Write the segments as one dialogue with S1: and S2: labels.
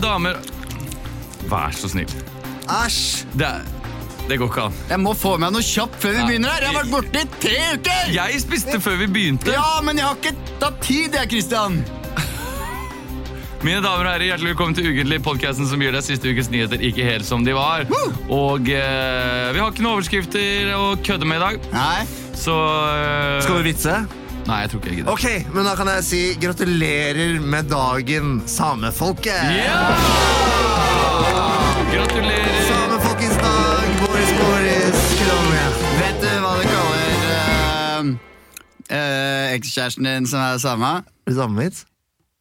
S1: damer Vær så snill.
S2: Æsj!
S1: Det, er- det går ikke an.
S2: Jeg må få meg noe kjapt før vi begynner her. Jeg har vært borte i tre uker!
S1: Jeg spiste før vi begynte.
S2: Ja, men jeg har ikke tatt tid, jeg, Christian.
S1: Mine damer og herrer, hjertelig velkommen til Ukentlig, podkasten som gir deg siste ukes nyheter ikke helt som de var. Og eh, vi har ikke noen overskrifter å kødde med i dag,
S2: Nei.
S1: så eh,
S3: Skal du vitse?
S1: Nei, jeg tror ikke jeg gidder.
S3: Ok, men da kan jeg si gratulerer med dagen, samefolket!
S1: Ja! Gratulerer.
S3: Samefolkets dag, Boris Boris, kom igjen.
S2: Vet du hva du kaller eh, eh, ekskjæresten din som er same?
S3: Blir det samme vits?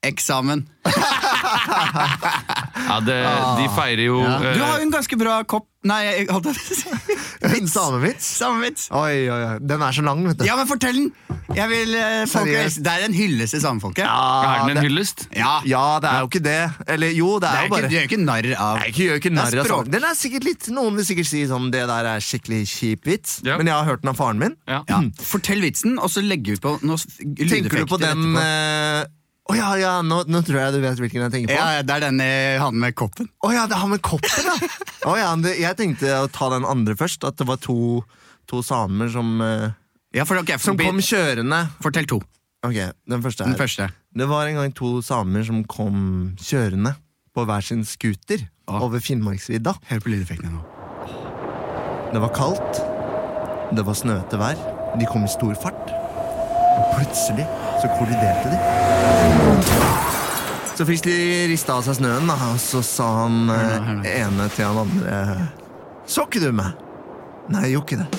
S2: Eksamen.
S1: Ja, det, de feirer jo
S2: Ja.
S1: eh,
S2: Du har jo en ganske bra kopp Nei, jeg holdt på å si vits.
S3: Samevits?
S2: Samevits.
S3: Oi, oi, oi. Den er så lang, vet du.
S2: Ja, men fortell den! Jeg vil, eh, folkens,
S3: Seriøst?
S2: det er en hyllest til samefolket.
S1: Er den en
S3: det,
S1: hyllest?
S2: Ja.
S3: ja, det er jo ikke det. Eller jo, det
S2: Det
S3: er jo
S2: er ikke,
S3: bare
S2: du gjør ikke narr av
S3: Nei, ikke gjør ikke narr
S2: Det er
S3: av
S2: språk.
S3: saken. Den er sikkert litt, Noen vil sikkert si sånn, det der er skikkelig kjip vits,
S1: Ja.
S3: men jeg har hørt den av faren min.
S1: Ja.
S2: ja. Fortell vitsen, og så legger vi på noe s-
S3: Tenker du på
S2: lydeffekter
S3: den
S2: etterpå.
S3: eh, Å ja, ja, nå, nå tror jeg du vet hvilken jeg tenker på.
S2: Ja,
S3: Å
S2: ja, det er den eh, han med koppen.
S3: ja, det har med koppen, ja! Å ja, det, jeg tenkte å ta den andre først. At det var to, to samer som, eh,
S2: Ja, for, ok,
S3: som
S2: forbi-
S3: kom kjørende.
S2: Fortell to.
S3: Ok, den første
S2: Den
S3: her.
S2: første.
S3: Det var en gang to samer som kom kjørende på hver sin scooter
S2: Ah.
S3: over Finnmarksvidda.
S2: Hør på lydeffektene nå.
S3: Det var kaldt. Det var snøete vær. De kom i stor fart. Og plutselig så kolliderte de. Så fikk de rista av seg snøen, da, og så sa han eh,
S2: Hør nå, hør nå.
S3: ene til han andre Så ikke du meg? Nei, jeg gjorde ikke det.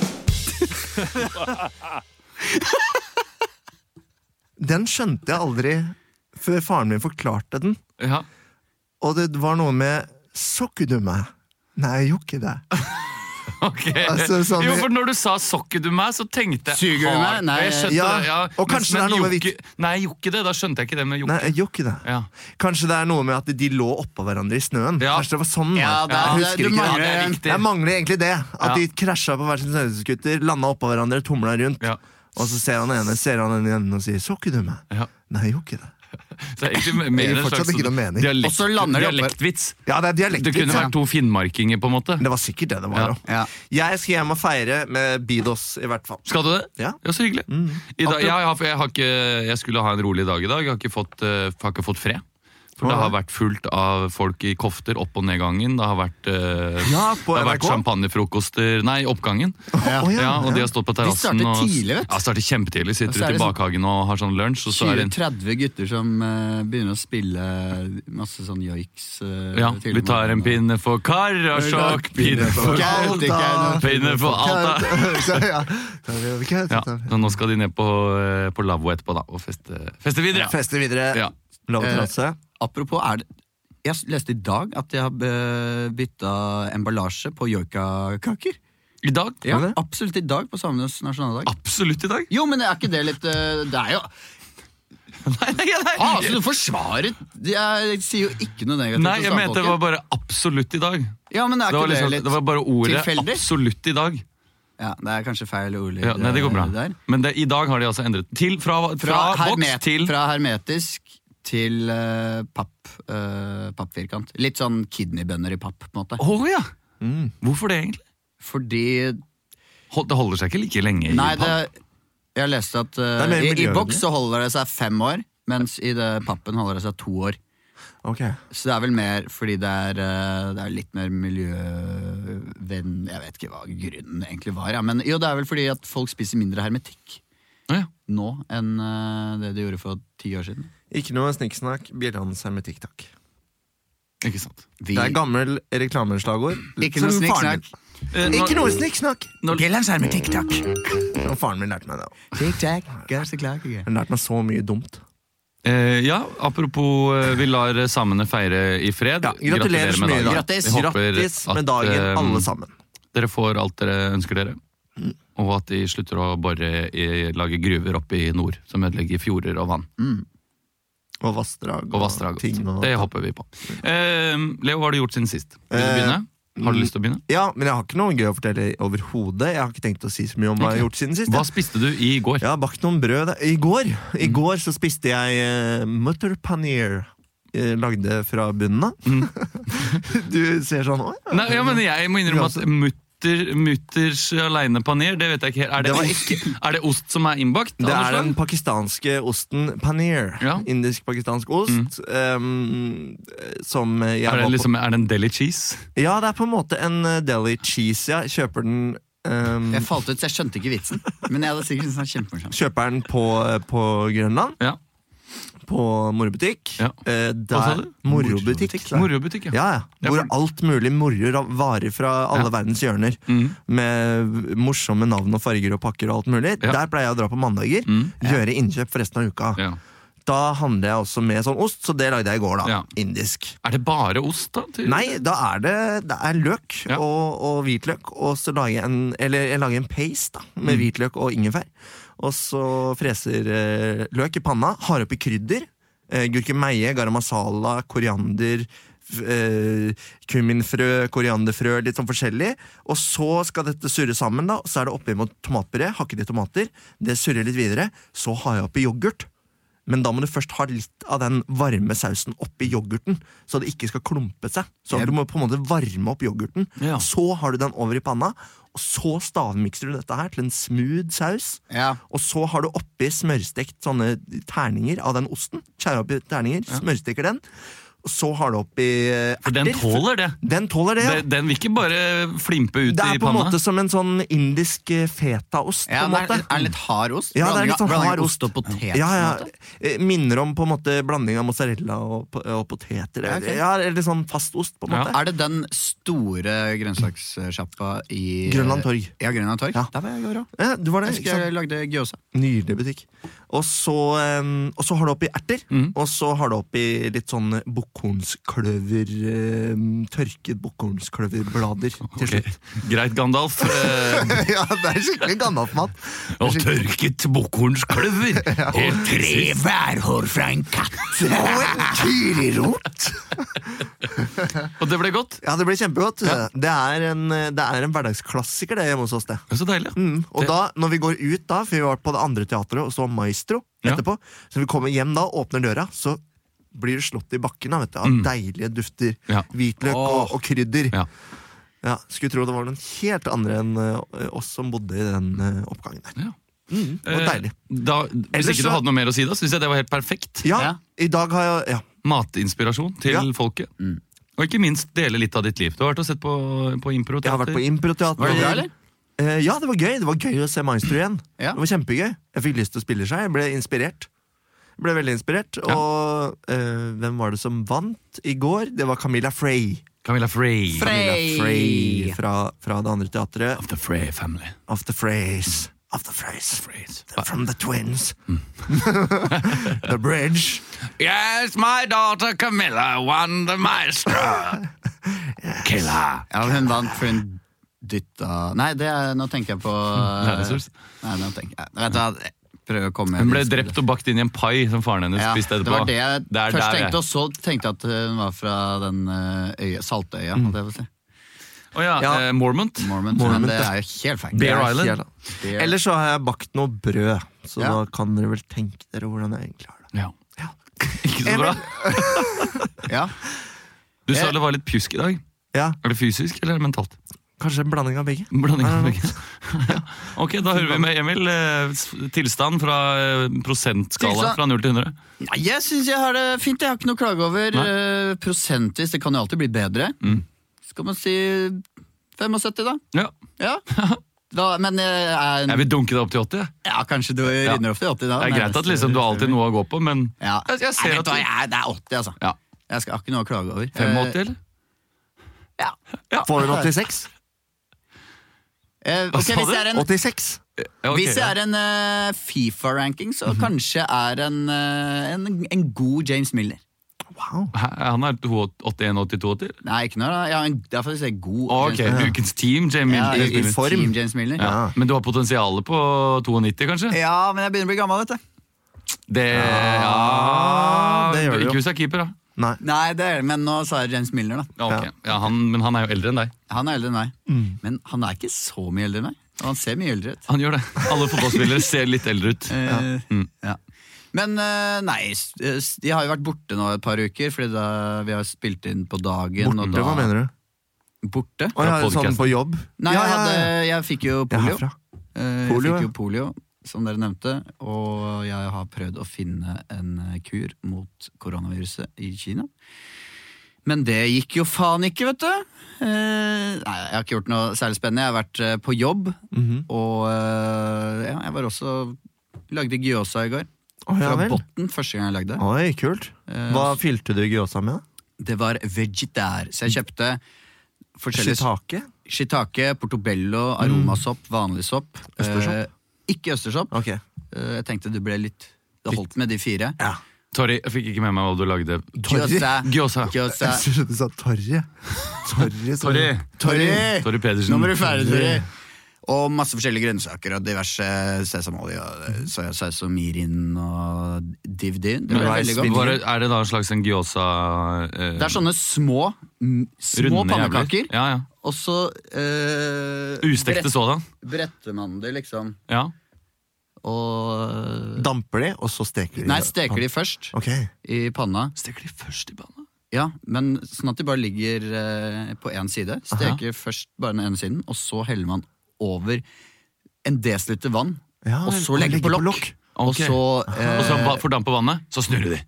S3: Den skjønte jeg aldri før faren min forklarte den.
S1: Ja.
S3: Og det var noe med Så ikke du meg? Nei, jeg gjorde ikke det.
S1: Ok.
S3: Altså, sånn-
S1: jo, for når du sa 'sokker du meg', så tenkte jeg
S2: Suger du
S1: har-
S2: meg? Nei,
S1: jeg skjønte
S3: ja.
S1: det, ja.
S3: Og kanskje det er noe med
S1: jokke- Nei, jeg gjorde ikke det. Da skjønte jeg ikke det med jokke.
S3: Nei, jeg gjorde ikke det.
S1: Ja.
S3: Kanskje det er noe med at de lå oppå hverandre i snøen.
S1: Ja.
S3: Kanskje det var sånn
S2: Ja,
S3: da.
S2: det er-
S3: Jeg
S2: det- du
S3: husker ikke.
S2: mangler
S1: Ja, det er
S2: en-
S1: riktig.
S3: Jeg mangler egentlig det. At
S1: Ja.
S3: de krasja på hver sin snøscooter, landa oppå hverandre, tumla rundt.
S1: Ja.
S3: Og så ser han ene ser han den ene og sier 'så ikke du meg'?
S1: Ja.
S3: Nei, jeg gjorde ikke det.
S1: Så det er egentlig mer
S3: Det gir
S1: en
S3: fortsatt
S1: slags
S3: ikke noe mening.
S1: dialekt-
S2: Og så lander det oppe-
S1: dialektvits.
S3: Ja, det er
S1: Det
S3: dialektvits.
S1: kunne
S3: ja.
S1: vært to finnmarkinger, på en måte.
S3: Det var sikkert det det var.
S1: Ja.
S3: da.
S2: Ja.
S3: Jeg skal hjem og feire med Bidos, i hvert fall.
S1: Skal du det?
S3: Ja. Mm.
S1: så hyggelig. I dag, jeg, har, jeg, har ikke, jeg skulle ha en rolig dag i dag. Jeg har ikke fått, eh, har ikke fått fred. For det har vært fullt av folk i kofter opp og ned gangen. Det har vært, eh,
S3: Ja, på
S1: det har vært
S3: NRK.
S1: champagnefrokoster Nei, oppgangen.
S2: Ja.
S3: Å,
S1: Ja, og de har stått på terrassen.
S2: starter
S1: og-
S2: tidlig, vet du.
S1: Ja, starter kjempetidlig.
S2: Og
S1: Sitter
S2: så er
S1: ute i
S2: det sånn-
S1: bakhagen og har sånn lunsj. Og så er det en,
S2: 20-30 gutter som eh, begynner å spille masse sånn joiks. eh,
S1: ja,
S2: til
S1: vi tar en
S2: morgenen.
S1: pinne for Karasjok, pinne for
S2: Gaute, Gaute.
S1: Pinne for Alta.
S3: Så, ja. Så, ja. vi kan-
S1: Ja, så nå skal de ned på, eh, på lavvo etterpå da, og feste, feste videre.
S3: Feste
S1: Ja.
S3: videre. Lov
S2: Eh,
S3: til rasse.
S2: Apropos, er det Jeg leste i dag at de har eh, bytta emballasje på joikakaker.
S1: I dag?
S2: Ja,
S3: det?
S2: absolutt i dag på samenes nasjonaldag.
S1: Absolutt i dag.
S2: Jo, men er ikke det litt eh, Det er jo
S1: Nei, nei, nei.
S2: Ah, så du forsvarer Jeg sier jo ikke noe negativt.
S1: Nei,
S2: om
S1: jeg mente det var
S2: stamfolket.
S1: bare absolutt i dag.
S2: Ja, men
S1: Det
S2: er ikke
S1: var, liksom,
S2: det litt
S1: det var bare ordet
S2: tilfeldig?
S1: absolutt i dag.
S2: Ja, Det er kanskje feil ordlyd.
S1: Ja, nei, det går bra.
S2: eh, der.
S1: Men det, i dag har de altså endret til fra, fra,
S2: Fra, herme
S1: boks til
S2: fra hermetisk til eh, papp. eh, pappfirkant. Litt sånn kidneybønner i papp, på en måte.
S1: Å ja!
S2: Mm.
S1: Hvorfor det, egentlig?
S2: Fordi
S1: Hol- Det holder seg ikke like lenge i
S2: Nei, det,
S1: papp.
S2: jeg leste at eh,
S3: Det er mer
S2: i, i
S3: miljøvennlig.
S2: boks så holder det seg fem år, mens i det pappen holder det seg to år.
S3: Ok.
S2: Så det er vel mer fordi det er, eh, det er litt mer miljøvenn... Jeg vet ikke hva grunnen egentlig var, ja. men jo, det er vel fordi at folk spiser mindre hermetikk
S1: Å, ja.
S2: nå enn eh, det de gjorde for ti år siden.
S3: Ikke noe snikksnakk. Bjelland hermetikk, takk.
S1: Ikke sant.
S2: Vi,
S3: Det er gammel reklameslagord.
S2: ikke noe
S3: Som faren
S2: snikksnakk.
S3: min- Ikke noe snikksnakk!
S2: Bjellands her med tiktak.
S3: Og Faren min lærte meg det. også.
S2: Tiktak, gørste klake.
S3: Han lærte meg så mye dumt.
S1: Eh, ja, apropos eh, vi lar eh, samene feire i fred.
S3: Ja, gratulerer så mye. da.
S2: Grattis.
S1: Vi håper
S3: Grattis
S1: at,
S3: med dagen,
S1: eh,
S3: alle sammen. Mm.
S1: Dere får alt dere ønsker dere. Og at de slutter å bare i, lage gruver oppe i nord, som ødelegger fjorder og vann.
S3: Og vassdrag.
S1: Og vassdrag.
S3: Mm. ting og-
S1: Det håper vi på. Eh, Leo, hva har du gjort siden sist? Vil du
S3: Eh,
S1: begynne? Har du lyst til å begynne?
S3: Ja, men jeg har ikke noe gøy å fortelle overhodet. Jeg har ikke tenkt å si så mye om hva jeg har gjort siden sist.
S1: Hva Mm.
S3: jeg.
S1: spiste du i går?
S3: Jeg har bakt noen brød. da. I går I går så spiste jeg uh, mutter paneer. eh, lagde fra bunnen av.
S1: Mm.
S3: du ser sånn «Å, ja.
S1: Nei, ja, men jeg må innrømme at
S3: Altså-
S1: mutter, mutters aleine paner, det vet jeg ikke helt. Er det,
S3: Det var
S1: ost, er det ost som er innbakt?
S3: Det
S1: av noe
S3: er den
S1: slag?
S3: pakistanske osten paneer.
S1: Ja. Mm.
S3: Indisk-pakistansk ost. ehm, som jeg
S1: er
S3: var
S1: det,
S3: på
S1: liksom, er det en deli cheese?
S3: Ja, det er på en måte en eh, deli cheese. Ja. Kjøper den ehm,
S2: Jeg falt ut, så jeg skjønte ikke vitsen. Men jeg hadde sikkert syntes den var kjempemorsom.
S3: Kjøper den på, eh, på Grønland,
S1: Ja.
S3: på morobutikk.
S1: Ja.
S3: Eh,
S1: sa
S3: der
S1: du?
S3: Morobutikk. sa jeg.
S1: Morobutikk, ja.
S3: Ja, ja.
S1: Ja,
S3: Hvor
S1: for-
S3: alt mulig morer av varer fra alle
S1: Ja.
S3: verdens hjørner.
S1: Mm.
S3: Med morsomme navn og farger og pakker og alt mulig.
S1: Ja.
S3: Der pleier jeg å dra på mandager.
S1: Mm.
S3: Gjøre innkjøp for resten av uka.
S1: ja.
S3: Da handler jeg også med sånn ost, så det lagde jeg i går. da
S1: Ja.
S3: Indisk.
S1: Er det bare ost, da? til-
S3: Nei, da er det, det er løk
S1: Ja.
S3: og, og hvitløk, og så lager jeg en, eller jeg lager en paste da,
S1: Mm.
S3: med hvitløk og ingefær. Og så freser eh, løk i panna, har oppi krydder. Eh, Gurkemeie, garam masala, koriander, f- eh, kumminfrø, korianderfrø, litt sånn forskjellig. Og så skal dette surre sammen, da, og så er det oppi mot tomatpuré, hakkede tomater. Det surrer litt videre. Så har jeg oppi yoghurt. Men da må du først ha litt av den varme sausen oppi yoghurten, så det ikke skal klumpe seg. Så
S2: Ja.
S3: du må på en måte varme opp yoghurten.
S1: Ja.
S3: Så har du den over i panna, og så stavmikser du dette her til en smooth saus.
S2: Ja.
S3: Og så har du oppi smørstekt sånne terninger av den osten. Skjærer oppi terninger, smørsteker den. Og så har du oppi eh,
S1: For den
S3: erter.
S1: tåler det.
S3: Den tåler det, ja.
S1: Den, den vil ikke bare flimpe ut
S3: Det
S1: i
S3: er på en
S1: panna.
S3: måte som en sånn indisk eh, fetaost.
S2: Ja,
S3: på en
S2: men er,
S3: måte.
S2: er det litt hard ost?
S3: Ja, det er
S2: Blanding
S3: litt sånn
S2: av- blanding av
S3: hard ost.
S2: og potet?
S3: Ja, ja.
S2: på en måte?
S3: Eh, Minner om på en måte blanding av mozzarella og, po- og poteter.
S2: Ja, ok.
S3: Ja, Eller sånn fast ost, på en
S1: Ja.
S3: måte.
S2: Er det den store grønnsakssjappa i
S3: Grønland torg.
S2: Ja, Grønland Torg.
S3: Ja.
S2: Der var jeg i går òg.
S3: Ja, Eh, du var
S2: Jeg
S3: det, ikke
S2: husker
S3: sant?
S2: jeg lagde gyoza.
S3: Nydelig butikk. Og så, eh, og så har du oppi erter,
S2: Mm.
S3: og så har du oppi litt sånn bukkhornskløver eh, Tørket bukkhornskløverblader til
S1: Ok.
S3: slutt.
S1: Greit, Gandalf. Eh,
S3: ja, det er skikkelig Gandalf-mat.
S1: og tørket bukkhornskløver! Helt tre
S2: værhår fra en katt!
S3: Og en kyrirot!
S1: Og det ble godt?
S3: Ja, det blir kjempegodt. Det, er en, det er en hverdagsklassiker, det, hjemme hos oss. det
S1: Det er så deilig.
S3: Mm, og
S1: Det-
S3: da, når vi går ut da, for vi var på det andre teatret og så Maestro
S1: Ja.
S3: etterpå, så vi kommer hjem da, åpner døra, så blir du slått i bakken da, vet du, av deilige dufter,
S1: Mm. Ja.
S3: hvitløk
S2: Åh.
S3: og, og krydder.
S1: Ja.
S3: Ja, skulle tro det var noen helt andre enn eh, oss som bodde i den eh, oppgangen der.
S1: Ja.
S3: Mm, det
S1: Eh,
S3: var deilig.
S1: Da, hvis
S3: Ellers
S1: ikke du
S3: så-
S1: hadde noe mer å si da, syns jeg det var helt perfekt.
S3: Ja,
S2: ja.
S3: i dag har jeg ja,
S1: Matinspirasjon til
S3: Ja.
S1: folket. Og ikke minst dele litt av ditt liv. Du har vært og sett på, på impro.
S3: jeg har vært på improteater.
S2: Var det bra, eller?
S3: Eh, ja, det var gøy. Det var gøy å se Maestro igjen.
S2: Ja.
S3: Det var kjempegøy. Jeg fikk lyst til å spille seg. Jeg ble inspirert. Jeg ble veldig inspirert. Og eh, hvem var det som vant i går? Det var Camilla Frey.
S1: Camilla Frey.
S2: Frey.
S3: Camilla Frey fra, fra det andre teatret.
S1: Of the Frey family.
S3: Of the Freys. Of the Freys.
S1: Freys.
S3: From the twins.
S2: Mm.
S3: the bridge.
S1: Yes, my daughter Camilla won the maestro. Killer.
S2: Ja, hun vant for hun dytta Nei, det er, nå tenker jeg på eh,
S1: Nei, det er surs.
S2: Nei, nå tenker jeg Vet du hva, prøv å komme
S1: Hun ble drept og bakt inn i en pai som faren hennes
S2: ja,
S1: spiste
S2: Det
S1: etterpå.
S2: var det jeg
S1: er der
S2: først
S1: jeg-
S2: tenkte, og så tenkte jeg at hun var fra den eh, øya, Saltøya.
S1: Mm.
S2: holdt jeg på å si.
S1: Å ja,
S3: Ja.
S1: eh, Mormont.
S2: Mormont.
S3: Mormont,
S2: Men det
S3: ja.
S2: er jo helt feil.
S1: Bear
S2: Det er
S1: Island.
S2: helt- det er-
S3: Ellers så har jeg bakt noe brød, så
S2: Ja.
S3: da kan dere vel tenke dere hvordan jeg egentlig har det.
S1: Ja.
S3: Ja.
S1: Ikke så bra.
S2: ja.
S1: Du sa det var litt pjusk i dag.
S3: ja,
S1: Er det fysisk eller mentalt?
S3: Kanskje en blanding av begge.
S1: Blanding
S3: Ja.
S1: av begge. Ja. Ok, da hører vi med Emil. eh, s- Tilstand fra eh, prosentskala
S2: Tilstand.
S1: fra 0 til 100.
S2: Nei, jeg syns jeg har det fint. Jeg har ikke noe å klage over.
S1: Nei. Mm.
S2: Eh, prosentvis, det kan jo alltid bli bedre. Skal man si 75, da?
S1: Ja.
S2: Ja. da men jeg er
S1: Jeg vil dunke deg opp til 80. jeg.
S2: Ja, kanskje du rinder ofte i 80 da.
S1: Det er
S2: men-
S1: greit at liksom, du har alltid noe å gå på, men
S2: ja.
S1: jeg, jeg
S2: Nei,
S1: ser
S2: vet
S1: at
S2: du hva,
S1: du
S2: jeg, Det er 80, altså.
S1: Ja.
S2: Jeg skal ikke noe å klage over.
S1: 85, eller?
S2: Eh, ja.
S3: Får hun 86?
S2: Eh,
S1: Hva
S2: ok,
S1: sa
S2: hvis
S1: du?
S2: jeg er en,
S3: 86?
S1: Ja, Mhm. ok,
S2: hvis jeg er en eh, Fifa-ranking, så kanskje er en, eh, en, en god James Miller.
S3: Wow.
S1: Hæ, Han er 81-82-80?
S2: Nei, ikke noe. da. Ja, en, da får vi si god.
S1: Ok,
S2: James Miller.
S1: ukens team, Jamie.
S2: Ja,
S1: Jamie
S2: i,
S1: Smith.
S3: form.
S2: Team James Miller.
S1: Ja. Men du har potensialet på 92, kanskje?
S2: Ja, men jeg begynner å bli gammel, vet du.
S1: Det, ja,
S3: det gjør du jo.
S1: Ikke hvis du er keeper, da.
S3: Nei.
S2: Nei, det er det, men nå sa jeg James Milner, da.
S1: Ja, ok. ja, han, men han er jo eldre enn deg.
S2: Han er eldre enn meg.
S3: Mm.
S2: Men han er ikke så mye eldre enn meg. Og han ser mye eldre ut.
S3: Mm.
S1: Han gjør det. Alle fotballspillere ser litt eldre ut.
S2: Eh, ja. Men eh, nei, s- eh, s- de har jo vært borte nå et par uker, fordi da, vi har spilt inn på dagen. og
S3: Borte,
S2: da,
S3: hva mener du?
S2: Borte?
S3: Å ja,
S1: Ja,
S3: sånn
S1: podcasten.
S3: på jobb?
S2: Nei,
S3: ja,
S2: jeg,
S3: ja,
S2: hadde,
S3: ja.
S2: jeg fikk jo
S3: Jeg er
S2: polio.
S3: herfra.
S2: Eh,
S3: Polio,
S2: jeg fikk
S3: ja.
S2: jo polio, som dere nevnte. Og jeg har prøvd å finne en eh, kur mot koronaviruset i Kina. Men det gikk jo faen ikke, vet du! Eh, nei, jeg har ikke gjort noe særlig spennende. Jeg har vært eh, på jobb,
S3: Mhm.
S2: og eh, ja, jeg var også Lagde gyosa i går.
S3: Å, ja
S2: Fra
S3: vel. Ah.
S2: botten, første gang jeg lagde.
S3: Oi, kult.
S2: Eh,
S3: Hva fylte du Gyosa med? da?
S2: Det var vegetar, så jeg kjøpte forskjellige
S3: Shiitake?
S2: Shiitake, portobello, aromasopp, vanlig sopp.
S3: Østersopp?
S2: Eh, ikke østersopp.
S3: Ok.
S2: Eh, jeg tenkte det ble litt Det holdt med de fire.
S3: Ja.
S1: Torry, jeg fikk ikke med meg hva du lagde.
S2: Gyoza.
S1: Gyoza.
S2: Gyoza.
S3: Jeg trodde du sa Torry. Torry. sa du.
S1: Torry.
S2: Torry!
S1: Torry Pedersen.
S2: Nå må du ferdig, Torry. Og masse forskjellige grønnsaker og diverse sesamolje og eh, soyasaus og mirin og divdi. Det ble
S1: Men,
S2: veldig godt.
S1: var det, er det da en slags en gyoza eh,
S2: Det er sånn sånne små, mm, små
S1: runde
S2: pannekaker,
S1: jævler? Ja, ja.
S2: og så eh,
S1: Ustekte
S2: brett-
S1: sådan.
S2: bretter man det, liksom.
S1: Ja.
S2: Og
S3: Damper de, og så steker de?
S2: Nei, steker de først
S3: Ok.
S2: i panna.
S1: Steker de først i panna?
S2: Ja, men sånn at de bare ligger eh, på én side. Steker først bare den ene siden, og så heller man over en desiliter vann.
S3: Ja,
S2: og
S3: vel,
S2: så legger på lokk. Og
S1: Ok.
S2: så eh,
S1: Og så ba- fordamper vannet, så snurrer de.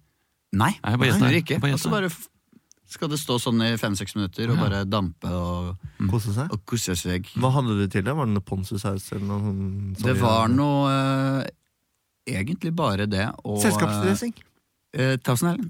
S1: Nei,
S2: Nei,
S1: jeg bare gjetter.
S2: snurrer ikke.
S1: Jeg bare
S2: Og så bare f- skal det stå sånn i fem-seks minutter og
S1: Ja.
S2: bare dampe og,
S3: Kose seg.
S2: og kose seg.
S3: Hva hadde du til det? Var det noe ponzusaus eller noe sånn?
S2: Det var noe eh, Egentlig bare det og
S3: Selskapsdressing.
S2: Eh, Tusen Erlend.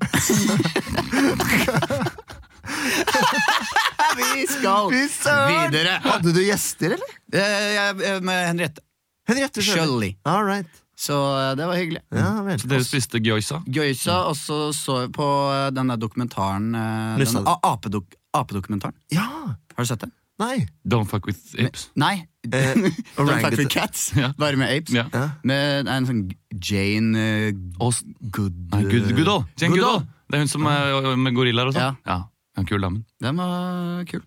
S2: Vi skal
S3: Fy søren!
S2: videre.
S3: Hadde du gjester, eller?
S2: Eh, jeg- eh, med Henriette
S3: Henriette Sjøli.
S2: Sjølli.
S3: All right.
S2: Så eh, det var hyggelig.
S3: Ja vel.
S1: Så dere spiste gyoza?
S2: Gøysa,
S3: Mm.
S2: og så så jeg på eh, den der dokumentaren eh,
S3: Nyssa
S2: den,
S3: du?
S2: a- apedok, Apedokumentaren.
S3: Ja!
S2: Har du sett den?
S3: Nei.
S1: Don't fuck with apes.
S2: Nei.
S3: Eh,
S2: Don't fuck
S3: orangutan.
S2: with cats.
S1: Ja.
S2: Bare med apes.
S1: Ja.
S3: Ja.
S2: Med en sånn Jane eh,
S1: Og
S2: Good...
S1: Nei, Good, Goodall. Jane
S2: Goodall.
S1: Goodall. Det er hun som er med gorillaer og
S2: Ja.
S1: sånn. Ja. ja. Kul dame.
S2: Den var kul.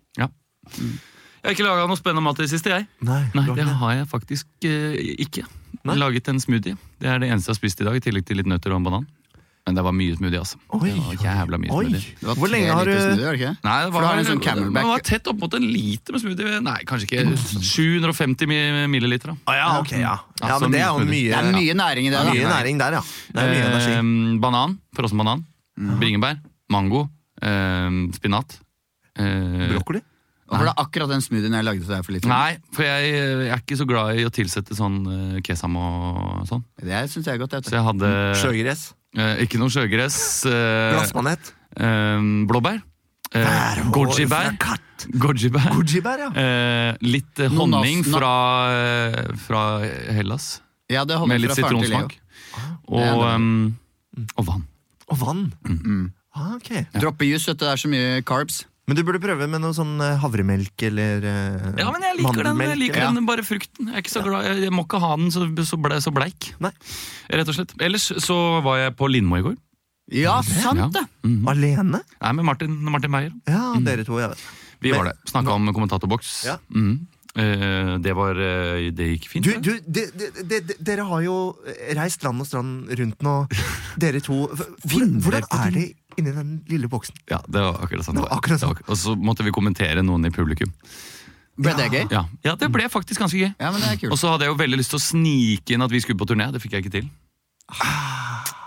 S1: Jeg har ikke laga noe spennende mat i det siste, jeg.
S3: Nei, du har
S1: Nei, det
S3: ikke det.
S1: har jeg faktisk eh, ikke.
S3: Nei?
S1: Laget en smoothie. Det er det eneste jeg har spist i dag, i tillegg til litt nøtter og en banan. Men det var mye smoothie, altså.
S3: Oi,
S1: det var jævla mye
S3: Oi.
S1: smoothie.
S2: Det var
S3: Hvor
S2: tre
S3: lenge har du
S2: liter
S3: liksom
S2: Smoothie, var det ikke? det?
S1: Nei, det
S2: For
S1: var,
S2: du har en sånn
S1: det
S2: camelback.
S1: var tett opp mot en liter med smoothie. Nei, kanskje ikke 750 mi- milliliter. da.
S3: Å ja, ok, ja. ja
S1: Altså,
S3: men det er jo
S1: mye
S3: mye
S2: Det er mye næring i det.
S3: mye
S2: da
S3: næring der, ja. Det er mye energi. Mhm.
S1: Eh, banan, frossen banan. Bringebær. Mango. Eh, spinat. Eh,
S3: Brokkoli?
S2: Og Var det akkurat den smoothien jeg lagde til deg for litt siden?
S1: Nei, for jeg, jeg er ikke så glad i å tilsette sånn eh, kesam og sånn.
S2: Det syns jeg er godt.
S1: Så
S2: Jeg.
S1: jeg hadde
S3: Sjøgress?
S1: eh, ikke noe sjøgress. Eh,
S3: Glassmanet?
S1: eh, blåbær. Eh,
S3: Bær og-
S1: Gojibær.
S3: fra katt.
S1: Gojibær.
S3: Gojibær, ja.
S1: Eh, litt eh,
S2: Nonas-
S1: honning
S2: na-
S1: fra, eh, fra Hellas.
S2: Ja, det holder
S1: Med litt
S2: fra faren til Leo.
S1: sitronsmak. Og,
S2: Det er det.
S1: ehm, og vann.
S3: Og vann.
S2: Mm.
S3: Ah, ok.
S2: Droppe jus, vet du. Det er så mye carbs.
S3: Men du burde prøve med noe sånn eh, havremelk eller eh,
S1: Ja, men jeg liker den, jeg
S3: mandelmelk.
S1: liker den bare frukten. Jeg er ikke så glad, jeg, jeg må ikke ha den så, så, ble, så bleik.
S3: Nei.
S1: Rett og slett. Ellers så var jeg på Lindmo i går.
S2: Ja, sant
S1: Ja.
S2: det!
S1: Mhm.
S3: Alene?
S1: Nei, med Martin, Martin Beyer.
S3: Ja, dere to. Ja.
S1: Vi
S3: Men-
S1: var det. Snakka om kommentatorboks.
S3: Ja.
S1: Mhm. Eh, det var eh, Det gikk fint.
S3: Du,
S1: det.
S3: du, de, de, de, de, dere har jo eh, reist land og strand rundt nå, dere to. Hvordan,
S2: Finner
S3: hvordan
S2: på
S3: er de inni den lille boksen?
S1: Ja, det var akkurat sånn.
S3: Det var akkurat sånn.
S1: Det var- Og så måtte vi kommentere noen i publikum.
S2: Ble det gøy?
S1: Ja, ja det ble faktisk ganske gøy.
S2: Ja, men det er
S1: Og
S2: kult.
S1: så hadde jeg jo veldig lyst til å snike inn at vi skulle på turné. Det fikk jeg ikke til.
S2: Ah.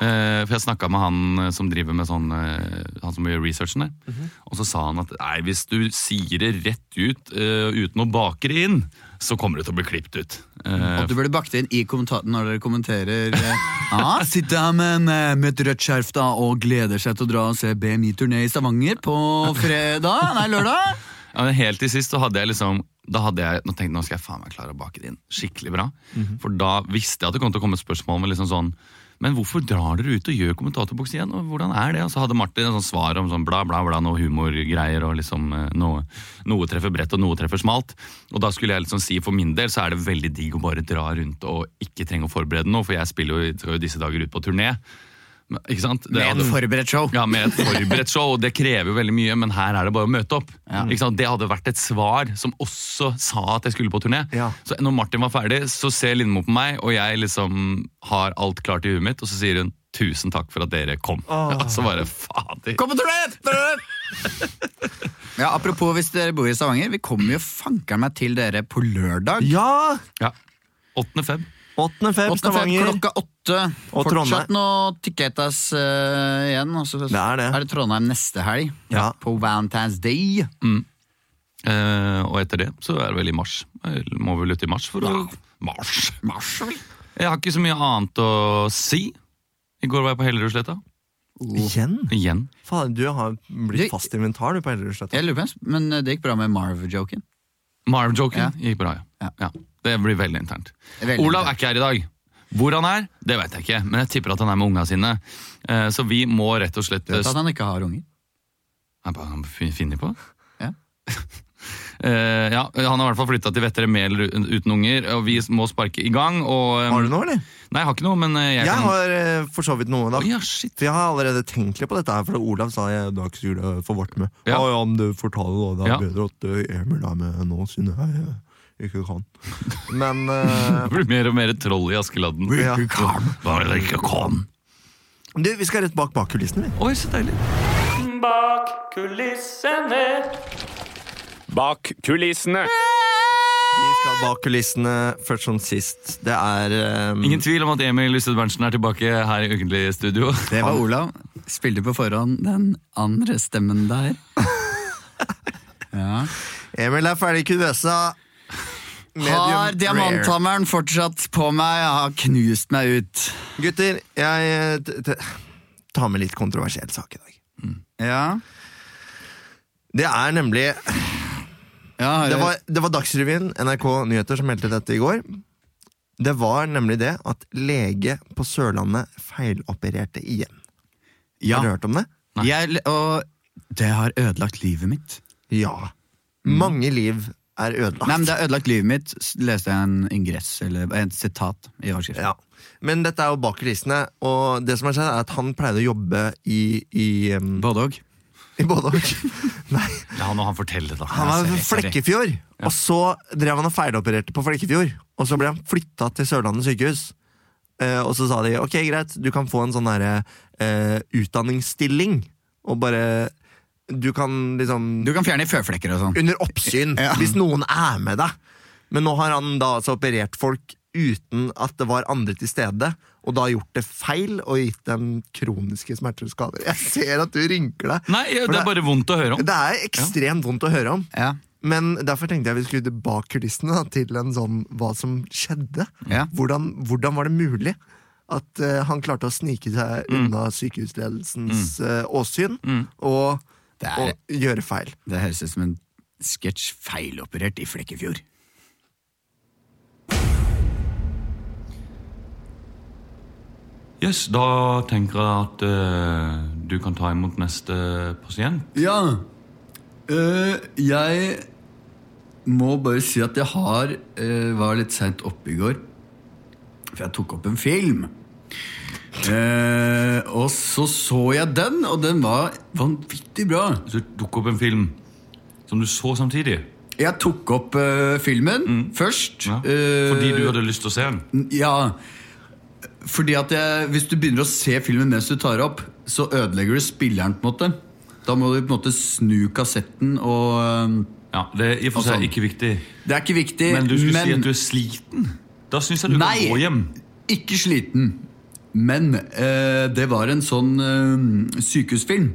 S1: Eh, for jeg snakka med han eh, som driver med sånn eh, Han som gjør researchen der.
S2: Mhm.
S1: Og så sa han at nei, hvis du sier det rett ut eh, uten å bake det inn, så kommer det til å bli klippet ut. Eh,
S2: Og du burde bakt det inn i kommentaren når dere kommenterer. eh, Ja, Sitter her med, en, eh, med et rødt skjerf da og gleder seg til å dra og se BMI-turné i Stavanger på fredag. Nei, lørdag.
S1: Ja, men helt til sist så hadde jeg liksom da hadde jeg, nå tenkte jeg, nå skal jeg faen meg klare å bake det inn skikkelig bra. For da visste jeg at det kom til å komme et spørsmål med liksom sånn Men hvorfor drar dere ut og gjør kommentatorboksen igjen? og hvordan er det? Og så hadde Martin en sånn svar om sånn bla, bla, bla, noe humorgreier og liksom eh, noe, noe treffer bredt og noe treffer smalt. Og da skulle jeg liksom si for min del så er det veldig digg å bare dra rundt og ikke trenge å forberede noe, for jeg spiller jo, skal jo disse dager ut på turné. Ikke sant? Det
S2: Med
S1: hadde-
S2: et forberedt show.
S1: Ja, med et forberedt show, og det krever jo veldig mye, men her er det bare å møte opp. Ikke sant? Det hadde vært et svar som også sa at jeg skulle på turné.
S3: Ja.
S1: Så når Martin var ferdig, så ser Lindmo på meg, og jeg liksom har alt klart i huet mitt, og så sier hun 'tusen takk for at dere kom'.
S3: Åh.
S1: Ja, så bare fader.
S2: Kom på turné! Ja, apropos hvis dere bor i Stavanger, vi kommer jo fanker meg til dere på lørdag.
S3: Ja!
S1: Ja. 8. feb.
S3: 8. feb,
S2: 8. feb
S3: Stavanger.
S2: klokka åtte.
S3: Og
S2: Fortsatt noe ticketas eh, igjen. og så-
S3: Det er det.
S2: Er det Trondheim neste helg?
S3: Ja.
S2: På Valentine's Day.
S1: Eh, og etter det så er det vel i mars. Eller Må vel ut i mars for å Mars!
S2: Mars, vel?
S1: Jeg har ikke så mye annet å si. I går var jeg på Hellerudsletta.
S3: Igjen?
S1: Igjen.
S3: Faen, du har
S2: Du-
S3: blitt fast inventar, du, på Hellerudsletta.
S2: Jeg lurer på, men eh, det gikk bra med Marv-joken.
S1: Marv-joken
S2: Ja.
S1: gikk bra, ja.
S2: Ja.
S1: ja. Det blir veldig internt.
S2: Veldig
S1: Olav
S2: internt.
S1: er ikke her i dag. Hvor han er, det vet jeg ikke, men jeg tipper at han er med unga sine. Eh, Så vi må rett og slett
S2: Vet at han ikke har unger.
S1: Han bare- han fin- finner på.
S2: Ja.
S1: Eh, ja, Han har i hvert fall flytta til Vettere med eller u- uten unger, og vi må sparke i gang. Og, eh,
S3: Har du noe, eller?
S1: Nei, jeg har ikke noe, men eh, jeg,
S3: Jeg
S1: kan
S3: har eh, for så vidt noe, da.
S1: Oi, ja, shit.
S3: For jeg har allerede tenkt litt på dette her, for Olav sa jeg, du har ikke så jule for vårt med.
S1: Ja.
S3: Ja. ja, men du fortalte det, det er
S1: Ja.
S3: bedre at eh, Emil er med nå, siden jeg eh, ikke kan. Men eh,
S1: Det blir mer og mer troll i Askeladden.
S3: Ja.
S1: Bare det ikke kom.
S3: du, vi skal rett bak bak kulissene, vi.
S1: Oi, så deilig.
S4: Bak kulissene.
S5: Bak kulissene.
S3: Vi skal bak kulissene først som sist. Det er eh,
S1: Ingen tvil om at Emil Lysted Berntsen er tilbake her i Ukentlig studio.
S2: Det var Olav. Spilte på forhånd den andre stemmen der. Ja.
S3: Emil er ferdig i kuvøsa.
S2: Har
S3: Medium rare.
S2: diamanthammeren fortsatt på meg? Jeg har knust meg ut.
S3: Gutter, jeg eh, t- t- tar med litt kontroversiell sak i dag.
S2: Ja,
S3: Det er nemlig
S2: ja har
S3: Det
S2: jeg-
S3: var, det var Dagsrevyen, NRK Nyheter, som meldte dette i går. Det var nemlig det at lege på Sørlandet feilopererte igjen.
S2: ja.
S3: Har du hørt om det?
S2: Jeg, og det har ødelagt livet mitt.
S3: Ja. Mange liv er ødelagt.
S2: Mm. Nei, men Det har ødelagt livet mitt, s- leste jeg en ingress, eller et sitat i overskriften.
S3: Ja. Men dette er jo bak kulissene, og det som har skjedd, er at han pleide å jobbe i, i, um,
S2: Både og.
S3: i både og. Nei,
S1: La nå han fortelle, da.
S3: han var fra
S1: Jeg ser- jeg ser-
S3: Flekkefjord, og så drev han og feilopererte på Flekkefjord. Og så ble han flytta til Sørlandet sykehus. Eh, og så sa de ok, greit, du kan få en sånn derre eh, utdanningsstilling. Og bare Du kan liksom
S2: Du kan fjerne føflekker og sånn.
S3: Under oppsyn,
S2: Ja.
S3: hvis noen er med deg. Men nå har han da altså operert folk uten at det var andre til stede, og da gjort det feil og gitt dem kroniske smerter og skader. Jeg ser at du rynker deg.
S1: Nei,
S3: For
S1: det er bare vondt å høre om.
S3: det er ekstremt vondt å høre om.
S2: Ja.
S3: Men derfor tenkte jeg vi skulle tilbake kulissene da, til en sånn hva som skjedde.
S2: Ja.
S3: Hvordan, hvordan var det mulig at eh, han klarte å snike seg
S1: Mm.
S3: unna sykehusledelsens eh, åsyn og,
S2: Det er-
S3: og gjøre feil?
S2: Det høres ut som en sketsj feiloperert i Flekkefjord.
S1: Yes, da tenker jeg at eh, du kan ta imot neste pasient.
S2: Ja. Øh, jeg må bare si at jeg har øh, var litt seint oppe i går. For jeg tok opp en film. Eh, og så så jeg den, og den var vanvittig bra.
S1: Så dukket opp en film som du så samtidig.
S2: Jeg tok opp øh, filmen først.
S1: Ja.
S2: øh,
S1: Fordi du hadde lyst til å se den.
S2: Ja Fordi at jeg, hvis du begynner å se filmen mens du tar opp Så ødelegger du spilleren på en måte Da må du på en måte snu kassetten Og ehm, øhm,
S1: Ja, Det er i og for seg
S2: Altså,
S1: ikke viktig,
S2: det er ikke viktig
S1: men du skulle si at du er sliten. Da syns jeg du
S2: Nei.
S1: kan gå hjem.
S2: Ikke sliten Men øh, det var en sånn øhm, sykehusfilm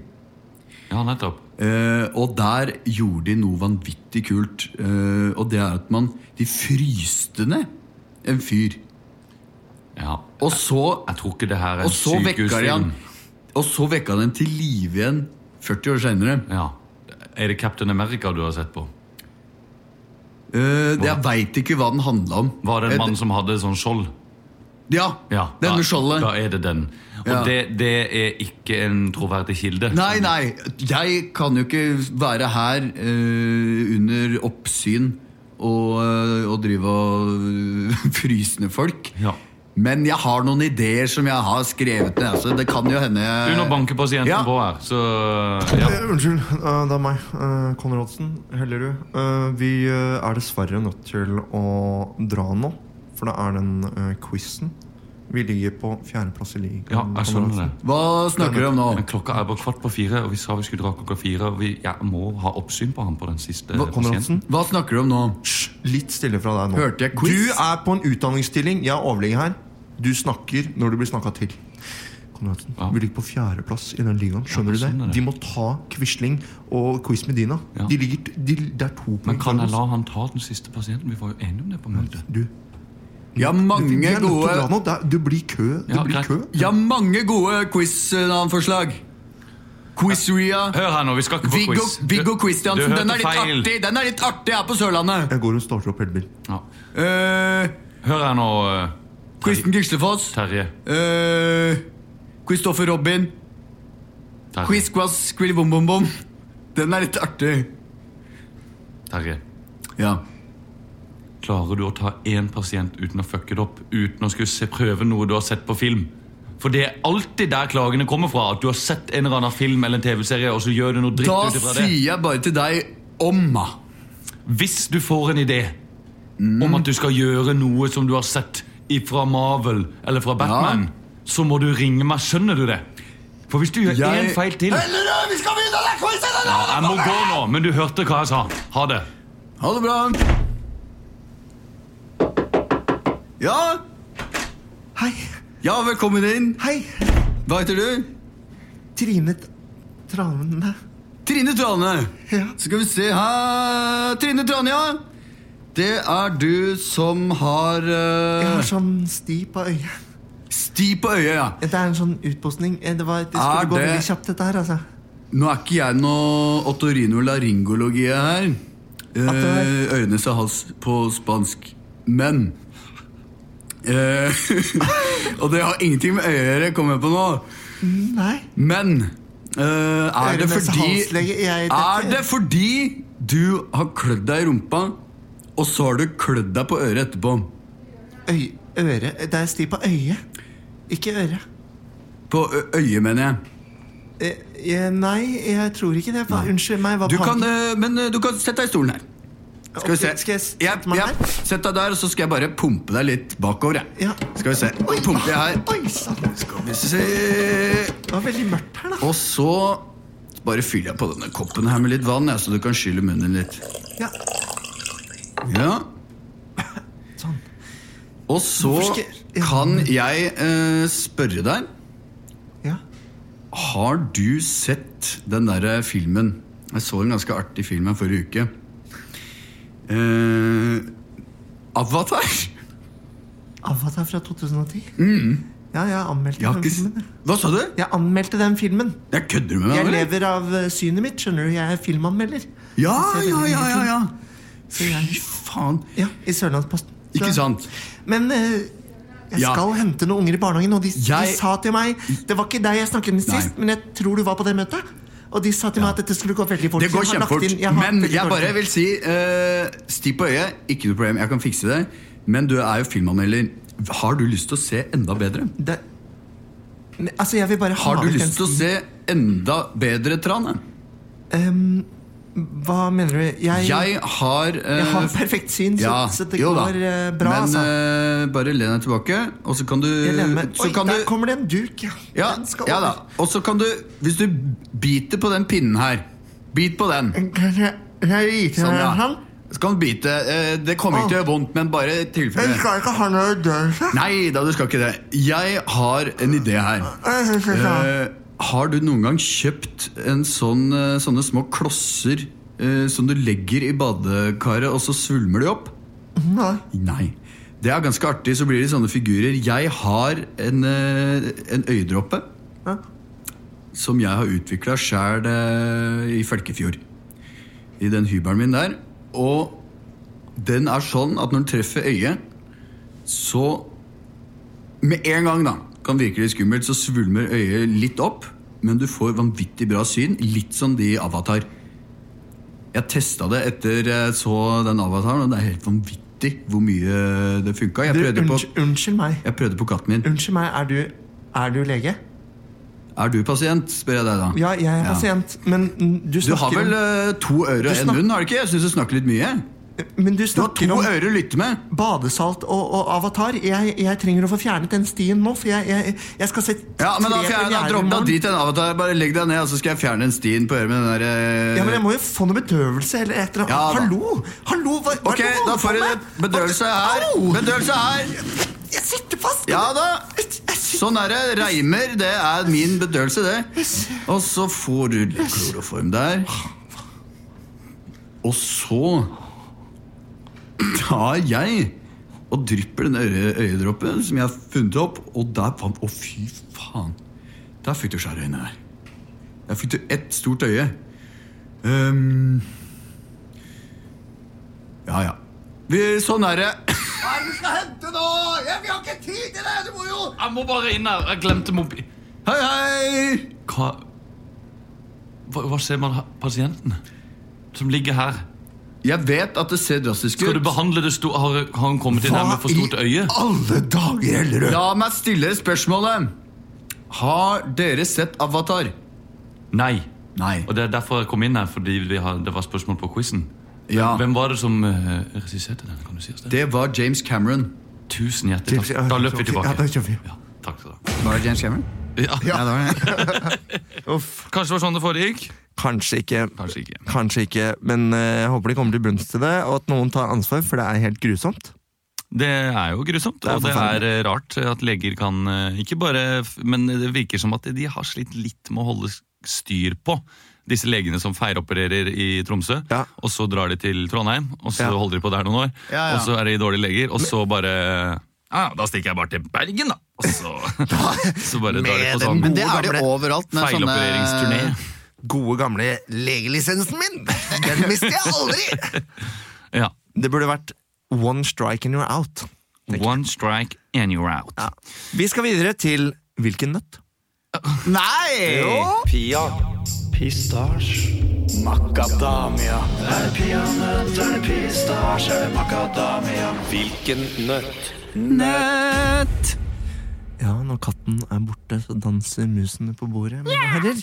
S1: Ja, nettopp.
S2: Eh, og der gjorde de noe vanvittig kult. eh, og det er at man De fryste ned en fyr.
S1: Ja.
S2: Og så
S1: Jeg tror ikke det her er
S2: Og
S1: en
S2: så vekka de han
S1: sykehusfilm.
S2: Og så vekka han den til live igjen 40 år senere
S1: Ja. Er det Captain America du har sett på?
S2: Eh, det, Jeg veit ikke hva den handla om
S1: Var det en
S2: Eh,
S1: mann som hadde sånn skjold?
S2: Ja,
S1: Ja,
S2: denne
S1: da-
S2: skjoldet
S1: Da er det den. Og
S2: Ja.
S1: det, det er ikke en troverdig kilde.
S2: Nei, nei, jeg kan jo ikke være her eh, under oppsyn og, eh, og drive og fryse ned folk
S1: Ja.
S2: Men jeg har noen ideer som jeg har skrevet ned. Altså, det kan jo hende
S1: Du, nå banker pasienten
S2: Ja.
S1: på her, så ja.
S3: Eh, unnskyld, eh, det er meg. eh, Konrad Olsen, Hellerud. Eh, vi eh, er dessverre nødt til å dra nå, for det er den uh, quizen. Vi ligger på fjerdeplass i ligaen.
S1: ja, jeg
S3: Konrad
S1: skjønner
S3: Olsen.
S1: det.
S2: Hva snakker du om nå?
S1: Men klokka er bare kvart på fire, og vi sa vi skulle dra klokka fire. Og vi, jeg må ha oppsyn på ham på den siste
S2: Hva-
S3: Konrad
S1: pasienten.
S3: Olsen,
S2: Hva snakker du om nå?
S3: hysj, litt stille fra deg nå.
S2: Hørte jeg quiz?
S3: Du er på en utdanningsstilling. Jeg er overlege her. Du snakker når du blir snakka til. Konrad Olsen,
S1: Ja.
S3: Vi ligger på fjerdeplass i den ligaen. Skjønner du
S1: Ja, sånn er
S3: det?
S1: det.
S3: De må ta Quisling og Quiz Medina.
S1: Ja.
S3: De ligger, t- de, det er to poeng
S1: Men kan
S3: fra oss.
S1: jeg la han ta den siste pasienten? Vi var jo enige om det på møtet.
S3: Du,
S2: Jeg har
S3: Vi
S2: mange
S3: er nødt til å dra
S2: gode,
S3: nå. Det, er, det blir kø. Det
S1: Ja,
S3: blir
S1: greit.
S3: kø.
S2: jeg har mange gode quiz-navnforslag. Quizria.
S1: Hør her nå, vi skal ikke på
S2: Viggo,
S1: quiz.
S2: Viggo
S1: Du-
S2: Christiansen.
S1: du
S2: Den
S1: hørte
S2: er litt
S1: feil.
S2: artig Den er litt artig her på Sørlandet.
S3: Jeg går og starter opp elbil.
S1: Ja.
S2: Eh,
S1: Hør her nå, eh,
S2: Kristen Gislefoss.
S1: Terje.
S2: Eh, Christopher Robin.
S1: Terje.
S2: Quiz Quaz Quill Bom Bom Bom. Den er litt artig.
S1: Terje.
S2: Ja.
S1: Klarer du å ta én pasient uten å fucke det opp? Uten å skulle se prøve noe du har sett på film? For det er alltid der klagene kommer fra. At du har sett en eller annen film eller en TV-serie, og så gjør du noe dritt
S2: Da
S1: ut ifra det.
S2: sier jeg bare til deg omma.
S1: Hvis du får en idé
S2: Mm.
S1: om at du skal gjøre noe som du har sett fra Marvel eller fra Batman, så må du ringe meg. Skjønner du det? For hvis du gjør
S2: Jeg-
S1: én feil til
S2: Eller, eh, vi skal begynne den quizen! eller?
S1: ja, Jeg må gå nå, men du hørte hva jeg sa. Ha det.
S2: Ha det bra. Ja,
S3: Hei,
S2: ja, velkommen inn.
S3: hei.
S2: Hva heter du?
S3: Trine T- Trane.
S2: Trine Trane.
S3: Ja.
S2: Skal vi se her Trine Trane, ja. Det er du som har eh,
S3: Jeg har sånn sti på øyet.
S2: sti på øyet, ja.
S3: Det er en sånn utpostning. Eh, Det, var, det
S2: Er
S3: skulle gå
S2: det-
S3: veldig kjapt, dette her. altså.
S2: Nå er ikke jeg noe otorinolaryngologi her.
S3: At det
S2: Eh,
S3: er-
S2: ørenes og hals på spansk. Men eh, Og det har ingenting med øyet å gjøre, kommer jeg på nå.
S3: Nei.
S2: Men eh, er, det
S3: Ørenes og
S2: fordi,
S3: halslege, jeg-
S2: er det fordi du har klødd deg i rumpa, og så har du klødd deg på øret etterpå?
S3: Øy, øre. Det er sti på øyet. Ikke øre.
S2: På ø- øyet, mener jeg.
S3: Eh, eh, nei, jeg tror ikke det. Hva, unnskyld meg. Hva
S2: Du kan,
S3: faen-
S2: eh, men eh, du kan sette deg i stolen her. Skal vi se.
S3: Ok, eh, Skal jeg
S2: Ja,
S3: sette meg
S2: ja.
S3: her?
S2: Sett deg der, og så skal jeg bare pumpe deg litt bakover. jeg.
S3: Ja.
S2: Skal vi se. Nå pumper jeg her.
S3: Oi sann.
S2: Skal vi se.
S3: Det var veldig mørkt her, da.
S2: Og så bare fyller jeg på denne koppen her med litt vann, jeg, så du kan skylle munnen litt.
S3: Ja,
S2: Ja.
S3: sånn.
S2: Og så
S3: Hvorfor skal jeg-
S2: kan jeg eh, spørre deg
S3: Ja.
S2: Har du sett den der filmen? Jeg så en ganske artig film her forrige uke. Eh, Avatar?
S3: Avatar fra 2010? Ja, jeg anmeldte
S2: Mm. Jeg har
S3: den
S2: ikke
S3: filmen.
S2: s- Hva sa du?
S3: Jeg anmeldte den filmen.
S2: Jeg kødder du med meg?
S3: Jeg
S2: eller?
S3: lever av eh, synet mitt, skjønner du. Jeg er filmanmelder.
S2: Ja,
S3: Jeg ser
S2: ja,
S3: veldig
S2: ja,
S3: mye
S2: ja,
S3: film.
S2: ja.
S3: Så jeg,
S2: Fy faen.
S3: ja, I Sørlandsposten. Så-
S2: Ikke sant?
S3: Men eh, jeg
S2: Ja.
S3: skal hente noen unger i barnehagen, og de,
S2: Jeg-
S3: de sa til meg Det var ikke deg jeg snakket med
S2: Nei.
S3: sist, men jeg tror du var på det møtet. Og de sa til meg at dette skulle gå veldig fort.
S2: Det går
S3: så jeg har lagt
S2: kjempefort.
S3: inn- jeg har
S2: Men
S3: veldig
S2: jeg
S3: dårlig
S2: bare
S3: tid.
S2: vil si eh, Sti på øyet, ikke noe problem, jeg kan fikse det. Men du er jo filmanmelder. Har du lyst til å se enda bedre?
S3: det, Men, Altså, jeg vil bare ha
S2: Har du
S3: vekk den
S2: lyst til å
S3: sti-
S2: se enda bedre, Trane?
S3: Ehm, Hva mener du? Jeg, jeg,
S2: Jeg har eh,
S3: har perfekt syn, så,
S2: ja,
S3: så det
S2: jo da.
S3: går eh, bra,
S2: Men
S3: altså.
S2: eh, bare len deg tilbake, og så kan du
S3: Jeg lener meg.
S2: Eh, så
S3: Oi,
S2: kan
S3: der
S2: du-
S3: kommer det en duk, ja.
S2: ja,
S3: Den skal
S2: ja da.
S3: over.
S2: Og så kan du, hvis du biter på den pinnen her Bit på den.
S3: Kan jeg, kan jeg vite
S2: Sånn,
S3: hvem
S2: ja.
S3: han?
S2: Så kan du bite. eh, Det kommer ikke til å gjøre vondt, men bare i
S3: Jeg
S2: tilfelle.
S3: skal ikke ha noe i døren, så.
S2: Nei da, du skal ikke det. Jeg har en idé her.
S3: Jeg synes ikke det.
S2: Eh, har du noen gang kjøpt en sånn, eh, sånne små klosser eh, som du legger i badekaret, og så svulmer de opp?
S3: Nei.
S2: Nei. Det er ganske artig, så blir det sånne figurer. Jeg har en, eh, en øyedråpe
S3: Ja.
S2: som jeg har utvikla sjæl i Følkefjord. I den hybelen min der. Og den er sånn at når den treffer øyet, så Med en gang, da, kan virke litt skummelt, så svulmer øyet litt opp. Men du får vanvittig bra syn. Litt som de i Avatar. Jeg testa det etter jeg så den avataren, og det er helt vanvittig vanvittig hvor mye det funka. Jeg
S6: Du,
S2: prøvde på,
S6: unnskyld, unnskyld meg.
S2: jeg prøvde på katten min.
S6: Unnskyld meg, er du, er du lege?
S2: Er du pasient, spør jeg deg da.
S6: Ja, jeg er
S2: Ja.
S6: pasient, men mm, du
S2: Du har
S6: snakker
S2: vel
S6: om
S2: eh, to ører og en
S6: snak-
S2: munn, har du ikke? Jeg syns du snakker litt mye.
S6: Men du
S2: eh, Du har to
S6: snakker om
S2: ører å lytte med.
S6: badesalt og, og avatar. Jeg, jeg trenger å få fjernet den stien nå, for jeg, jeg, jeg skal se
S2: Ja, men da,
S6: tre
S2: får jeg, da,
S6: premierer i
S2: dropp, da
S6: morgen.
S2: drit i den avatar. Bare legg deg ned, og så skal jeg fjerne en stien på øret med den der
S6: Ja, men
S2: eh,
S6: jeg må jo få noe bedøvelse eller et
S2: Ja,
S6: eller
S2: da.
S6: annet. Hallo! Hallo, hva, hva
S2: Ok, da
S6: er det du holder på
S2: får du
S6: med?
S2: bedøvelse her.
S6: Au!
S2: Bedøvelse her.
S6: Jeg sitter fast!
S2: Ja da.
S6: Jeg, jeg sitter
S2: Sånn er det. Reimer, det er min bedøvelse, det. Og så får du litt kloroform der. Og så tar jeg og drypper den øre, øyedråpen som jeg har funnet opp, og der fant Å, fy faen. Der fikk du skjær i øynene der. Der fikk du ett stort øye. Ehm, ja, ja. Vi, sånn er det. Hva er det du skal hente nå? Jeg, vi har ikke tid til det! Du må jo
S1: Jeg må bare inn her. Jeg glemte mobil...
S2: Hei, hei!
S1: Hva Hva, hva skjer med ha- pasienten som ligger her?
S2: Jeg vet at det ser drastisk
S1: Skal du
S2: ut.
S1: behandle det sto- Har, har hun kommet inn her med for stort øye?
S6: alle dager, Ellerød!
S2: La meg stille spørsmålet. Har dere sett Avatar?
S1: Nei.
S2: Nei.
S1: Og det er derfor jeg kom inn her, fordi vi har, det var spørsmål på quizen.
S2: Ja,
S1: Hvem var det som eh, regisserte den? kan du si oss det?
S2: det var James Cameron.
S1: Tusen hjertelig
S6: James- ja,
S1: takk. Da løper vi
S6: ja, da
S1: tilbake.
S6: kjører vi.
S1: Ja, takk skal du ha.
S2: Var det James Cameron?
S1: Ja.
S2: Ja, det var det.
S1: Kanskje det var sånn det foregikk?
S6: Kanskje ikke.
S1: Kanskje ikke.
S6: Kanskje ikke, men eh, jeg håper de kommer til bunns til det, og at noen tar ansvar, for det er helt grusomt.
S1: Det er jo grusomt,
S6: er
S1: og det er
S6: forferdelig.
S1: eh, rart at leger kan eh, Ikke bare f- Men det virker som at de har slitt litt med å holde s- styr på disse legene som feiropererer i Tromsø.
S6: Ja.
S1: Og så drar de til Trondheim, og så
S6: Ja.
S1: holder de på der noen år.
S2: Ja, ja.
S1: Og så er de dårlige leger, og så bare eh, Ja, da stikker jeg bare til Bergen, da! Og så, så bare drar de på sånn
S2: Men det er det overalt med
S1: feilopereringsturné.
S2: sånne
S6: Gode, gamle legelisensen min! Den mister jeg aldri!
S1: Ja.
S6: Det burde vært one strike and you're out.
S1: One strike and you're out.
S6: Ja. Vi skal videre til hvilken nøtt?
S2: Nei!
S7: Pia. Pistasj. Makadamia. Er det peanøtt, er det pistasj, er det makadamia? Hvilken nøtt?
S2: Nett!
S6: Ja, når katten er borte, så danser musene på bordet, mine herrer.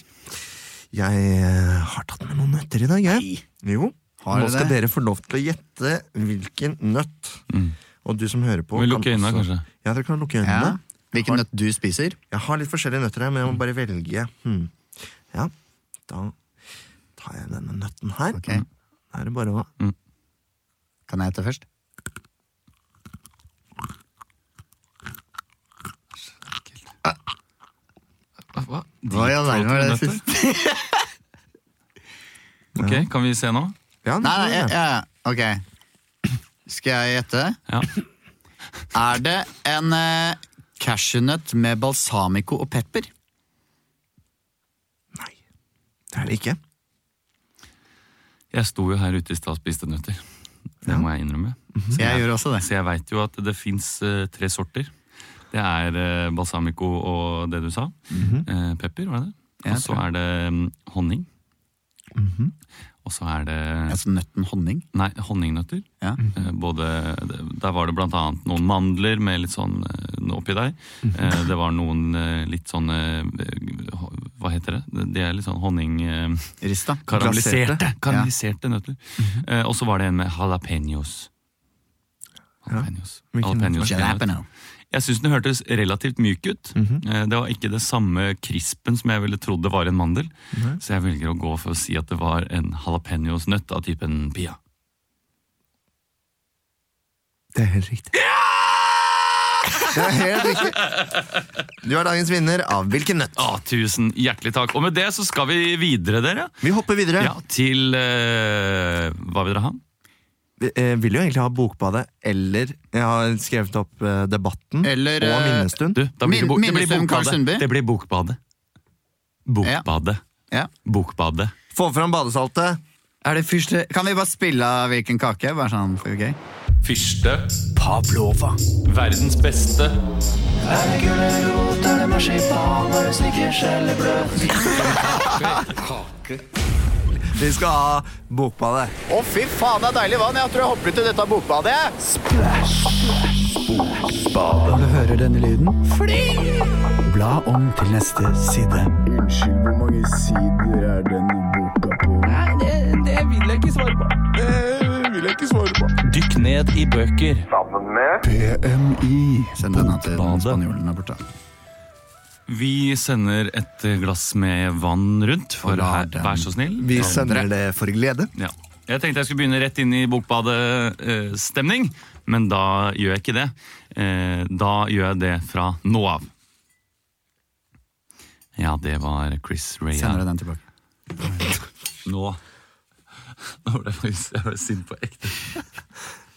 S6: Jeg eh, har tatt med noen nøtter i dag, jeg. Jo.
S2: Har
S6: Nå
S2: dere
S6: skal
S2: det?
S6: dere få lov til å gjette hvilken nøtt. Og du som hører på
S1: Vi lukker
S6: kan
S1: øynene,
S6: også-
S1: kanskje.
S6: Ja, dere kan lukke
S2: Ja.
S6: øynene.
S2: Hvilken nøtt du spiser?
S6: Jeg har litt forskjellige nøtter her, men jeg må bare velge. Hmm. Ja, da tar jeg denne nøtten her.
S2: Ok,
S6: Da er det bare å
S2: Kan jeg hete først?
S1: Hva?
S2: Hva i all verden var det siste?
S1: Ok, Kan vi se nå?
S6: Ja,
S2: Nei,
S6: nå
S2: nei,
S6: er det.
S2: ja, ja, ok. Skal jeg gjette?
S1: Ja.
S2: Er det en eh, cashewnøtt med balsamico og pepper?
S6: nei. Det er det ikke.
S1: Jeg sto jo her ute i stad og spiste nøtter. Det må jeg innrømme.
S2: Så jeg gjør også det.
S1: Så jeg veit jo at det fins tre sorter. Det er eh, balsamico og det du sa. Eh, pepper, var det det?
S2: Mhm. Ja,
S1: Og så
S2: tror jeg. Mhm.
S1: er det mm, honning. Og så er det
S2: Altså nøtten honning.
S1: Nei, honningnøtter.
S2: Ja.
S1: Eh, Både, der var det blant annet noen mandler med litt sånn eh, oppi der. Eh, Det var noen eh, litt sånn eh, ho- Hva heter det? De er litt sånn honning... eh,
S2: Rista.
S1: Karamelliserte, karamelliserte nøtter. Eh, og så var det en med jalapeños. Jalapeños.
S6: Hvilken
S1: Jalapeños.
S2: Jalapeno.
S1: Jeg syns den hørtes relativt myk ut. Eh, Det var ikke det samme krispen som jeg ville trodd det var en mandel. Så jeg velger å gå for å si at det var en jalapeños-nøtt av typen pia.
S6: Det er helt riktig. Det er helt riktig. Du er dagens vinner av Hvilken nøtt?
S1: Å, Ah, tusen hjertelig takk. Og med det så skal vi videre, dere.
S6: Vi hopper videre.
S1: Ja, til eh, Hva vil dere ha?
S6: Vi eh, vil jo egentlig ha Bokbadet eller Jeg har skrevet opp eh, Debatten
S2: Eller,
S6: og
S2: eh,
S6: Minnestund.
S1: Du, da blir det, bo det blir
S2: Minnestund Karl
S1: bokbadet.
S2: Sundby.
S1: Det blir bokbadet. Bokbadet.
S2: Ja.
S1: Bokbadet.
S6: Få fram badesaltet!
S2: Er det første Kan vi bare spille av hvilken kake? Bare sånn for gøy.
S1: Fyrste.
S7: Pavlova.
S1: Verdens beste.
S7: Er det gulrot, er det marsipan, er det snickers eller brød?
S3: Vi skal ha bokbadet.
S8: Å, fy faen, det er deilig vann. Jeg tror jeg hopper ut i dette bokbadet. jeg.
S2: Du hører denne lyden? Fly! Bla om til neste side.
S9: Dykk ned i bøker.
S2: Send denne til
S9: Bokbadet.
S2: spanjolen der borte.
S1: Vi sender et glass med vann rundt, for
S2: Og lar
S1: her,
S2: den-
S1: vær så snill.
S3: Vi sender det for glede.
S1: Ja. Jeg tenkte jeg skulle begynne rett inn i Bokbadet-stemning, men da gjør jeg ikke det. Eh, Da gjør jeg det fra nå av. Ja, det var Chris
S2: Sender
S1: Rea.
S2: jeg den tilbake.
S1: Nå Nå ble jeg faktisk jeg ble sint på ekte.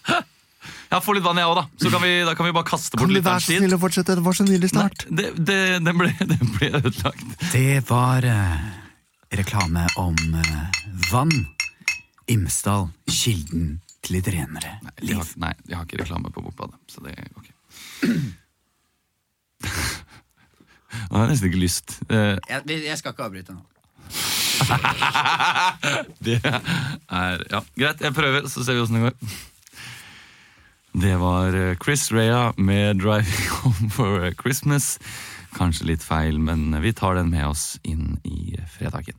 S1: Jeg får litt vann, jeg òg, da. Så kan vi, da kan vi bare kaste bort
S3: Kan du
S1: litt
S3: være så snill å fortsette? Det var så nydelig snart.
S1: Det, det, den, ble, den ble ødelagt.
S2: Det var eh, reklame om eh, vann. Imsdal, kilden til litt renere
S1: Jeg
S2: liv.
S1: har, nei, jeg har ikke reklame på Bokbadet, så det går ikke. Nå har jeg nesten ikke lyst. Eh,
S2: Jeg, jeg skal ikke avbryte nå.
S1: Det er Ja, greit. Jeg prøver, så ser vi åssen det går. Det var eh, Chris Rea med 'Driving Home for Christmas'. Kanskje litt feil, men vi tar den med oss inn i fredagen.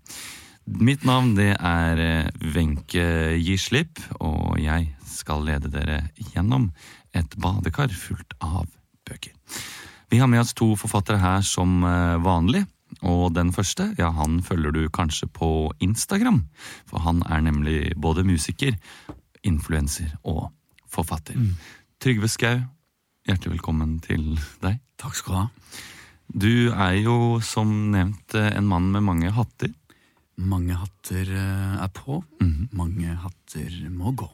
S1: Mitt navn det er eh, Wenche Gislipp, og jeg skal lede dere gjennom et badekar fullt av bøker. Vi har med oss to forfattere her som eh, vanlig. Og den første, ja, han følger du kanskje på Instagram. For han er nemlig både musiker, influenser og forfatter. Trygve Skau, hjertelig velkommen til deg.
S2: Takk skal du ha.
S1: Du er jo som nevnt eh, en mann med mange hatter.
S2: Mange hatter eh, er på, mange hatter må gå.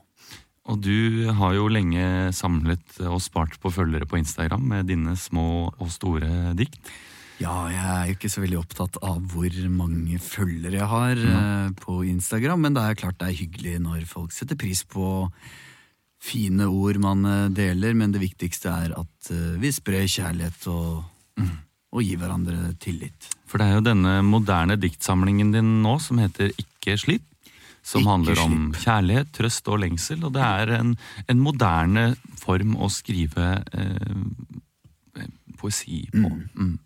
S1: Og du har jo lenge samlet og spart på følgere på Instagram med dine små og store dikt.
S2: Ja, jeg er jo ikke så veldig opptatt av hvor mange følgere jeg har eh, på Instagram, men det er klart det er hyggelig når folk setter pris på fine ord man eh, deler, men det viktigste er at eh, vi sprer kjærlighet og, Mm. og gir hverandre tillit.
S1: For det er jo denne moderne diktsamlingen din nå som heter Ikke slipp. Som
S2: Ikke
S1: handler om kjærlighet, trøst og lengsel. Og det er en, en moderne form å skrive eh, poesi på. Mm.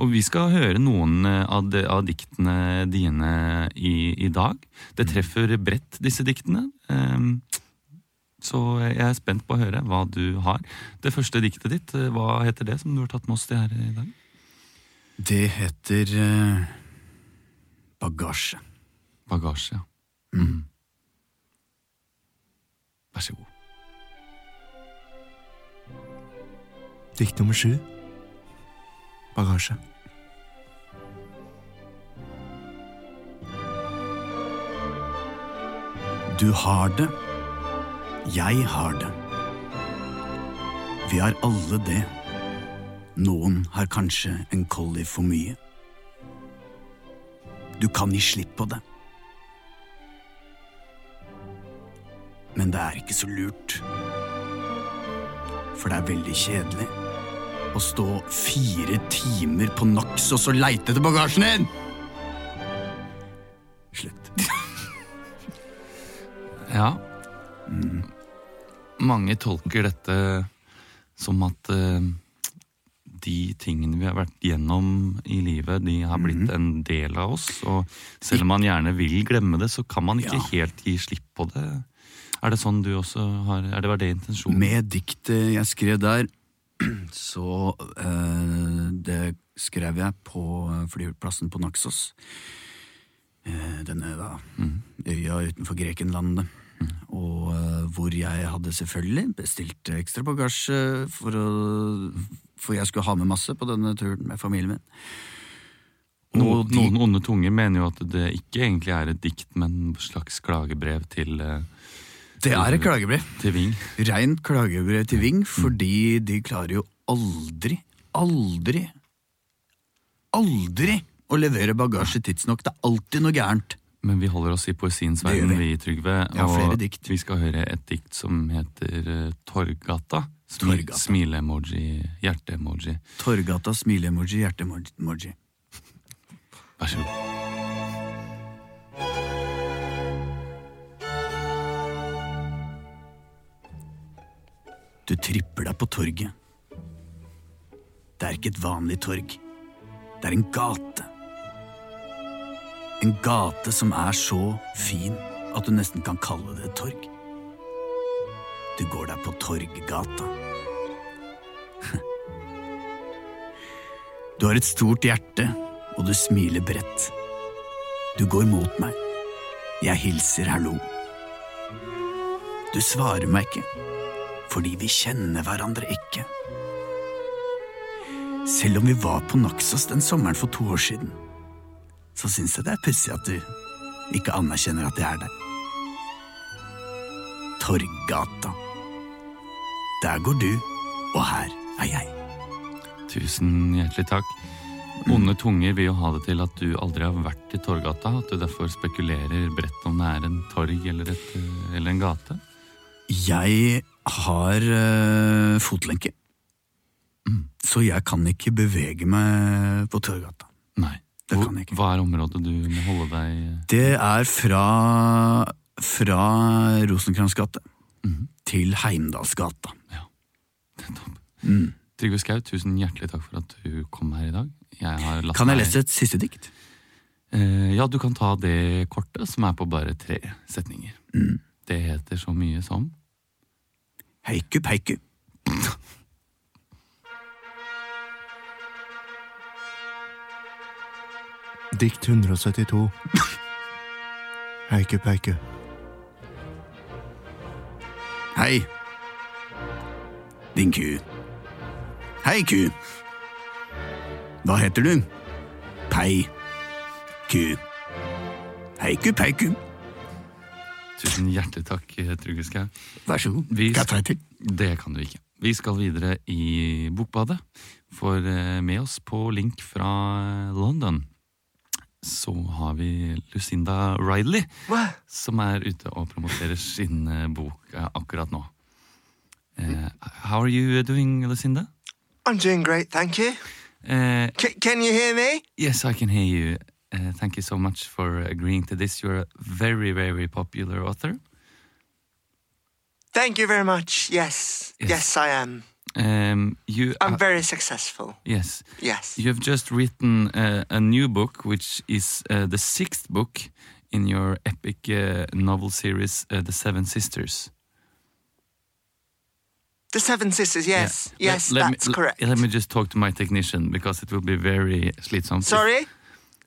S1: Og vi skal høre noen eh, av, de, av diktene dine i, i dag. Det treffer bredt, disse diktene. Ehm, så jeg er spent på å høre hva du har. Det første diktet ditt, eh, hva heter det som du har tatt med oss til her i dag?
S2: Det heter eh, bagasje.
S1: Bagasje, ja.
S2: Mm.
S1: Mm. Vær så god.
S3: Dikt nummer sju. Bagasje.
S2: Du har det. Jeg har det. Vi har alle det. Noen har kanskje en collie for mye. Du kan gi slipp på det. Men det er ikke så lurt. For det er veldig kjedelig å stå fire timer på NOx og så leite etter bagasjen din! Slutt.
S1: Ja. Mm. Mange tolker dette som at eh, de tingene vi har vært gjennom i livet, de har blitt
S2: Mm.
S1: en del av oss. Og selv om man gjerne vil glemme det, så kan man ikke
S2: Ja.
S1: helt gi slipp på det. Er det sånn du også har Er det var det intensjonen?
S2: Med diktet jeg skrev der, så eh, Det skrev jeg på eh, flyplassen på Naxos. Eh, denne da, øya utenfor Grekenlandet. Og eh, hvor jeg hadde selvfølgelig bestilt ekstra bagasje, for, å, for jeg skulle ha med masse på denne turen med familien min.
S1: No,
S2: Og de-
S1: noen onde tunger mener jo at det ikke egentlig er et dikt, men et slags klagebrev til, eh,
S2: Det er et klagebrev.
S1: til Ving.
S2: Rent klagebrev til Ving, fordi de klarer jo aldri, aldri, aldri å levere bagasje tidsnok. Det er alltid noe gærent.
S1: Men vi holder oss i poesiens
S2: Det gjør
S1: verden,
S2: vi.
S1: vi, Trygve.
S2: Jeg har flere dikt.
S1: vi skal høre et dikt som heter eh, Torggata. Smi-
S2: Torggata.
S1: Smile-emoji, hjerte-emoji.
S2: Torgata, smile-emoji, hjerte-emoji.
S1: Vær så god.
S2: Du tripper deg på torget. Det er ikke et vanlig torg. Det er en gate. En gate som er så fin at du nesten kan kalle det et torg. Du går der på Torggata. Du har et stort hjerte, og du smiler bredt. Du går mot meg. Jeg hilser hallo. Du svarer meg ikke, fordi vi kjenner hverandre ikke. Selv om vi var på Naxos den sommeren for to år siden, så syns jeg det er pussig at du ikke anerkjenner at jeg er der. Torggata. Der går du, og her er jeg.
S1: Tusen hjertelig takk. Onde tunger vil jo ha det til at du aldri har vært i Torgata, at du derfor spekulerer bredt om det er en torg eller, et, eh, eller en gate.
S2: Jeg har øh, fotlenke, Mm. så jeg kan ikke bevege meg på Torgata.
S1: Nei.
S2: Det
S1: Hvor-
S2: kan jeg ikke.
S1: Hva er området du må holde deg eh,
S2: Det er fra, fra Rosenkrantz gate til Heimdalsgata. Mm.
S1: Trygve Skau, tusen hjertelig takk for at du kom her i dag. Jeg har latt
S2: Kan jeg
S1: meg-
S2: lese et siste dikt?
S1: Eh, ja, du kan ta det kortet, som er på bare tre setninger. Det heter så mye som
S2: Heiku peiku.
S3: Dikt 172. Heiku peiku.
S2: Hei, din ku. Hei, ku. Hva heter du? Pei. Ku. Heiku peiku.
S1: Tusen hjertelig takk, eh, Trygve Skau.
S2: Vær så god.
S1: Vi-
S2: Skal jeg ta en til?
S1: Det kan du ikke. Vi skal videre i Bokbadet, for eh, med oss på link fra London så har vi Lucinda Riley, som er ute og promoterer sin eh, bok eh, akkurat nå. Eh, how are you doing, Lucinda?
S6: I'm doing great, thank you.
S1: Eh,
S6: C can you hear me?
S1: Yes, I can hear you. Uh, thank you so much for agreeing to this. You're a very, very popular author.
S6: Thank you very much. Yes.
S1: Yes.
S6: Yes, Ah. I am.
S1: Um, you,
S6: I'm
S1: uh,
S6: very successful.
S1: yes,
S6: Yes.
S1: you have just written uh, a new book, which is uh, the sixth book in your epic uh, novel series, uh, The Seven Sisters.
S6: The Seven Sisters, yes.
S1: Yeah.
S6: Yes,
S1: Let- let me-
S6: that's
S1: l-
S6: correct.
S1: Let me just talk to my technician because it will be very slitsomt. if-
S6: Sorry?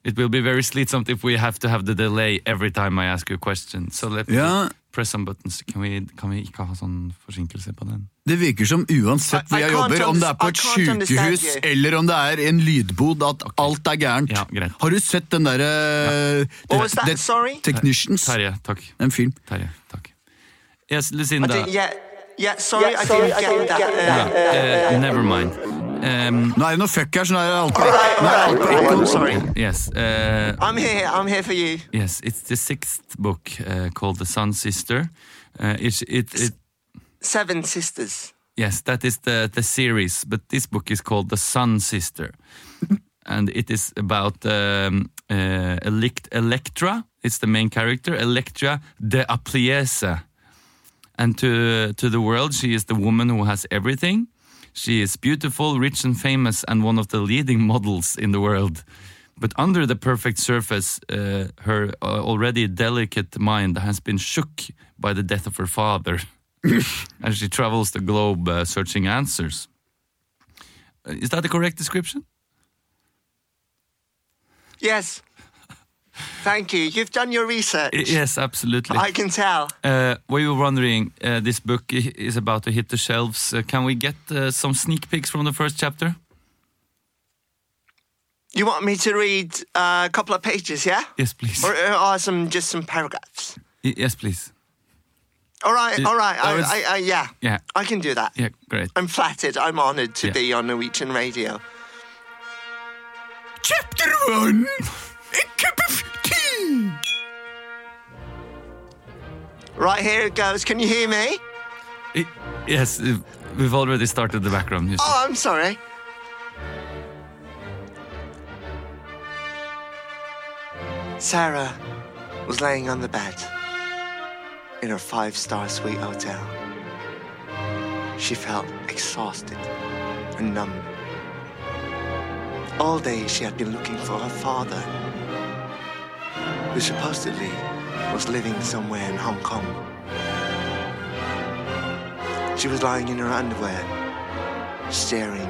S1: It will be very slitsomt if we have to have the delay every time I ask you a question. So let me
S2: Ja,
S1: press some buttons. Kan vi, kan vi ikke ha sånn forsinkelse på den?
S2: Det virker som uansett hvor
S6: I- I
S2: jeg
S6: can't
S2: jobber, om det er på et
S6: underst- I can't understand
S2: sykehus
S6: you.
S2: eller om det er en lydbod, at alt er gærent.
S1: Ja, greit.
S2: Har du sett den derre
S6: What was that? Sorry?
S2: Technicians?
S1: Terje, takk.
S2: En film.
S1: Terje, takk. Yes,
S6: I
S1: Lucinda.
S6: didn't- yeah. Yeah, sorry, I didn't get that. uh,
S1: Uh, never mind. Um,
S2: Nå er det noe fuck her, så nå er det alt på
S6: right,
S2: nå er alt på
S6: right,
S2: ekko.
S6: I'm sorry.
S1: yes, uh,
S6: I'm here, I'm here for you.
S1: yes. It's the sixth book uh, called The Sun Sister. Uh, it's it, it,
S6: Seven Sisters.
S1: yes, that is the the series, but this book is called The Sun Sister, and it is about um, uh, elect, Electra. It's the main character, Electra de Apliese. and to to the world she is the woman who has everything she is beautiful rich and famous and one of the leading models in the world but under the perfect surface uh, her uh, already delicate mind has been shook by the death of her father and she travels the globe uh, searching answers Uh, is that the correct description
S6: Yes. Thank you. You've done your research.
S1: I- yes absolutely
S6: I can tell.
S1: Uh, we were wondering uh, this book i- is about to hit the shelves uh, can we get uh, some sneak peeks from the first chapter
S6: You want me to read uh, a couple of pages, yeah?
S1: yes please
S6: Or, uh, or some just some paragraphs?
S1: Y- Yes, please.
S6: All right,
S1: Yeah,
S6: all right.
S1: I was-
S6: I, I, I, yeah,
S1: Yeah,
S6: I can do that.
S1: yeah, great.
S6: I'm flattered. I'm honoured to
S1: Yeah.
S6: be on Norwegian radio.
S2: Chapter one! A cup of tea!
S6: Right here it goes. Can you hear me?
S1: I- yes, uh, we've already started the background music.
S6: Oh, I'm sorry. Sarah was laying on the bed in her five star suite hotel.
S10: She felt exhausted and numb. All day she had been looking for her father, who supposedly was living somewhere in Hong Kong. She was lying in her underwear, staring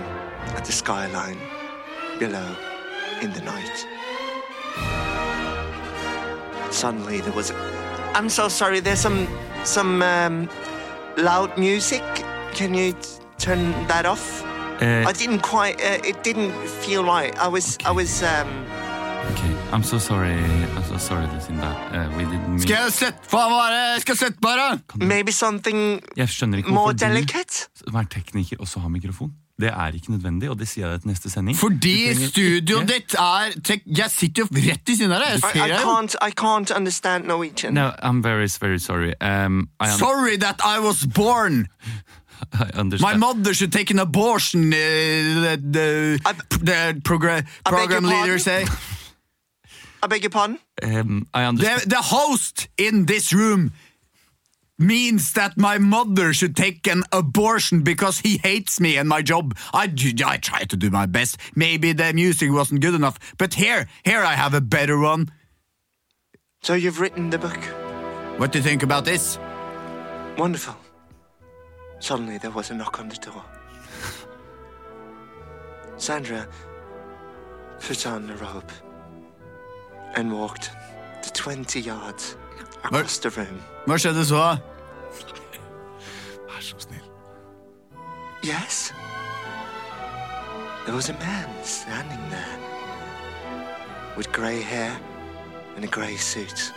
S10: at the skyline below in the night.
S6: Suddenly there was. I'm so sorry. There's some some um, loud music. Can you t- turn that off?
S1: Eh.
S6: I didn't quite. Uh, it didn't feel right. I was. I was. Um,
S1: Okay, I'm so sorry. I'm so sorry to see that. Uh, we didn't mean...
S2: Skal jeg sette på bare? Skal jeg sette bare?
S6: maybe something
S1: Jeg skjønner ikke
S6: more
S1: hvorfor
S6: delicate.
S1: du som er tekniker også har mikrofon. Det er ikke nødvendig, og det sier jeg deg til neste sending.
S2: Fordi
S1: Du trenger
S2: studioet
S1: ikke-
S2: ditt er tek Jeg sitter jo rett i siden av deg. Jeg
S6: I, I
S2: ser deg. jo.
S6: can't. I can't understand Norwegian.
S1: No, I'm very, very sorry. Um, I, un-
S2: Sorry that I was born!
S1: I
S2: My
S1: understand.
S2: mother should take an abortion, uh, the, the, the progra
S6: I beg your
S2: program leader
S6: pardon?
S2: say.
S6: I beg your pardon.
S1: um, I
S2: The,
S1: understand.
S2: the host in this room means that my mother should take an abortion because he hates me and my job. I, d- I try to do my best. Maybe the music wasn't good enough, but here, here I have a better one.
S6: So you've written the book.
S2: What do you think about this?
S6: Wonderful. Suddenly there was a knock on the door. Sandra put on the robe and walked the 20 yards across the room.
S2: Hva skjedde så?
S6: Yes? There was a man standing there with grey hair and a grey suit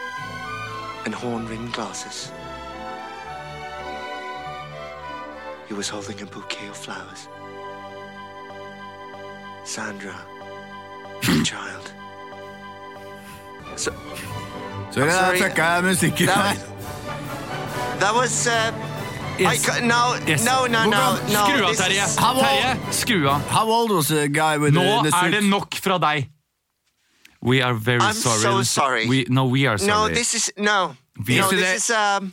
S6: and horn rimmed glasses. He was holding a bouquet of flowers. Sandra, the child. So
S2: Sorry, der
S6: sorry.
S2: fucka jeg musikken her.
S6: that was. Uh,
S1: Yes.
S6: I ca- no,
S1: Yes.
S6: no, no, no,
S1: Hvordan-
S6: no.
S1: Skru av,
S6: this
S1: Terje!
S6: is-
S2: Hallo?
S1: Terje, skru av.
S2: How old was the guy with
S1: Nå
S2: the, the
S1: er
S2: suit?
S1: det nok fra deg! We are very
S6: I'm
S1: sorry.
S6: so sorry.
S1: We, no, we are
S6: No,
S1: sorry.
S6: this is no.
S1: Yes,
S6: No,
S1: it
S6: this is um.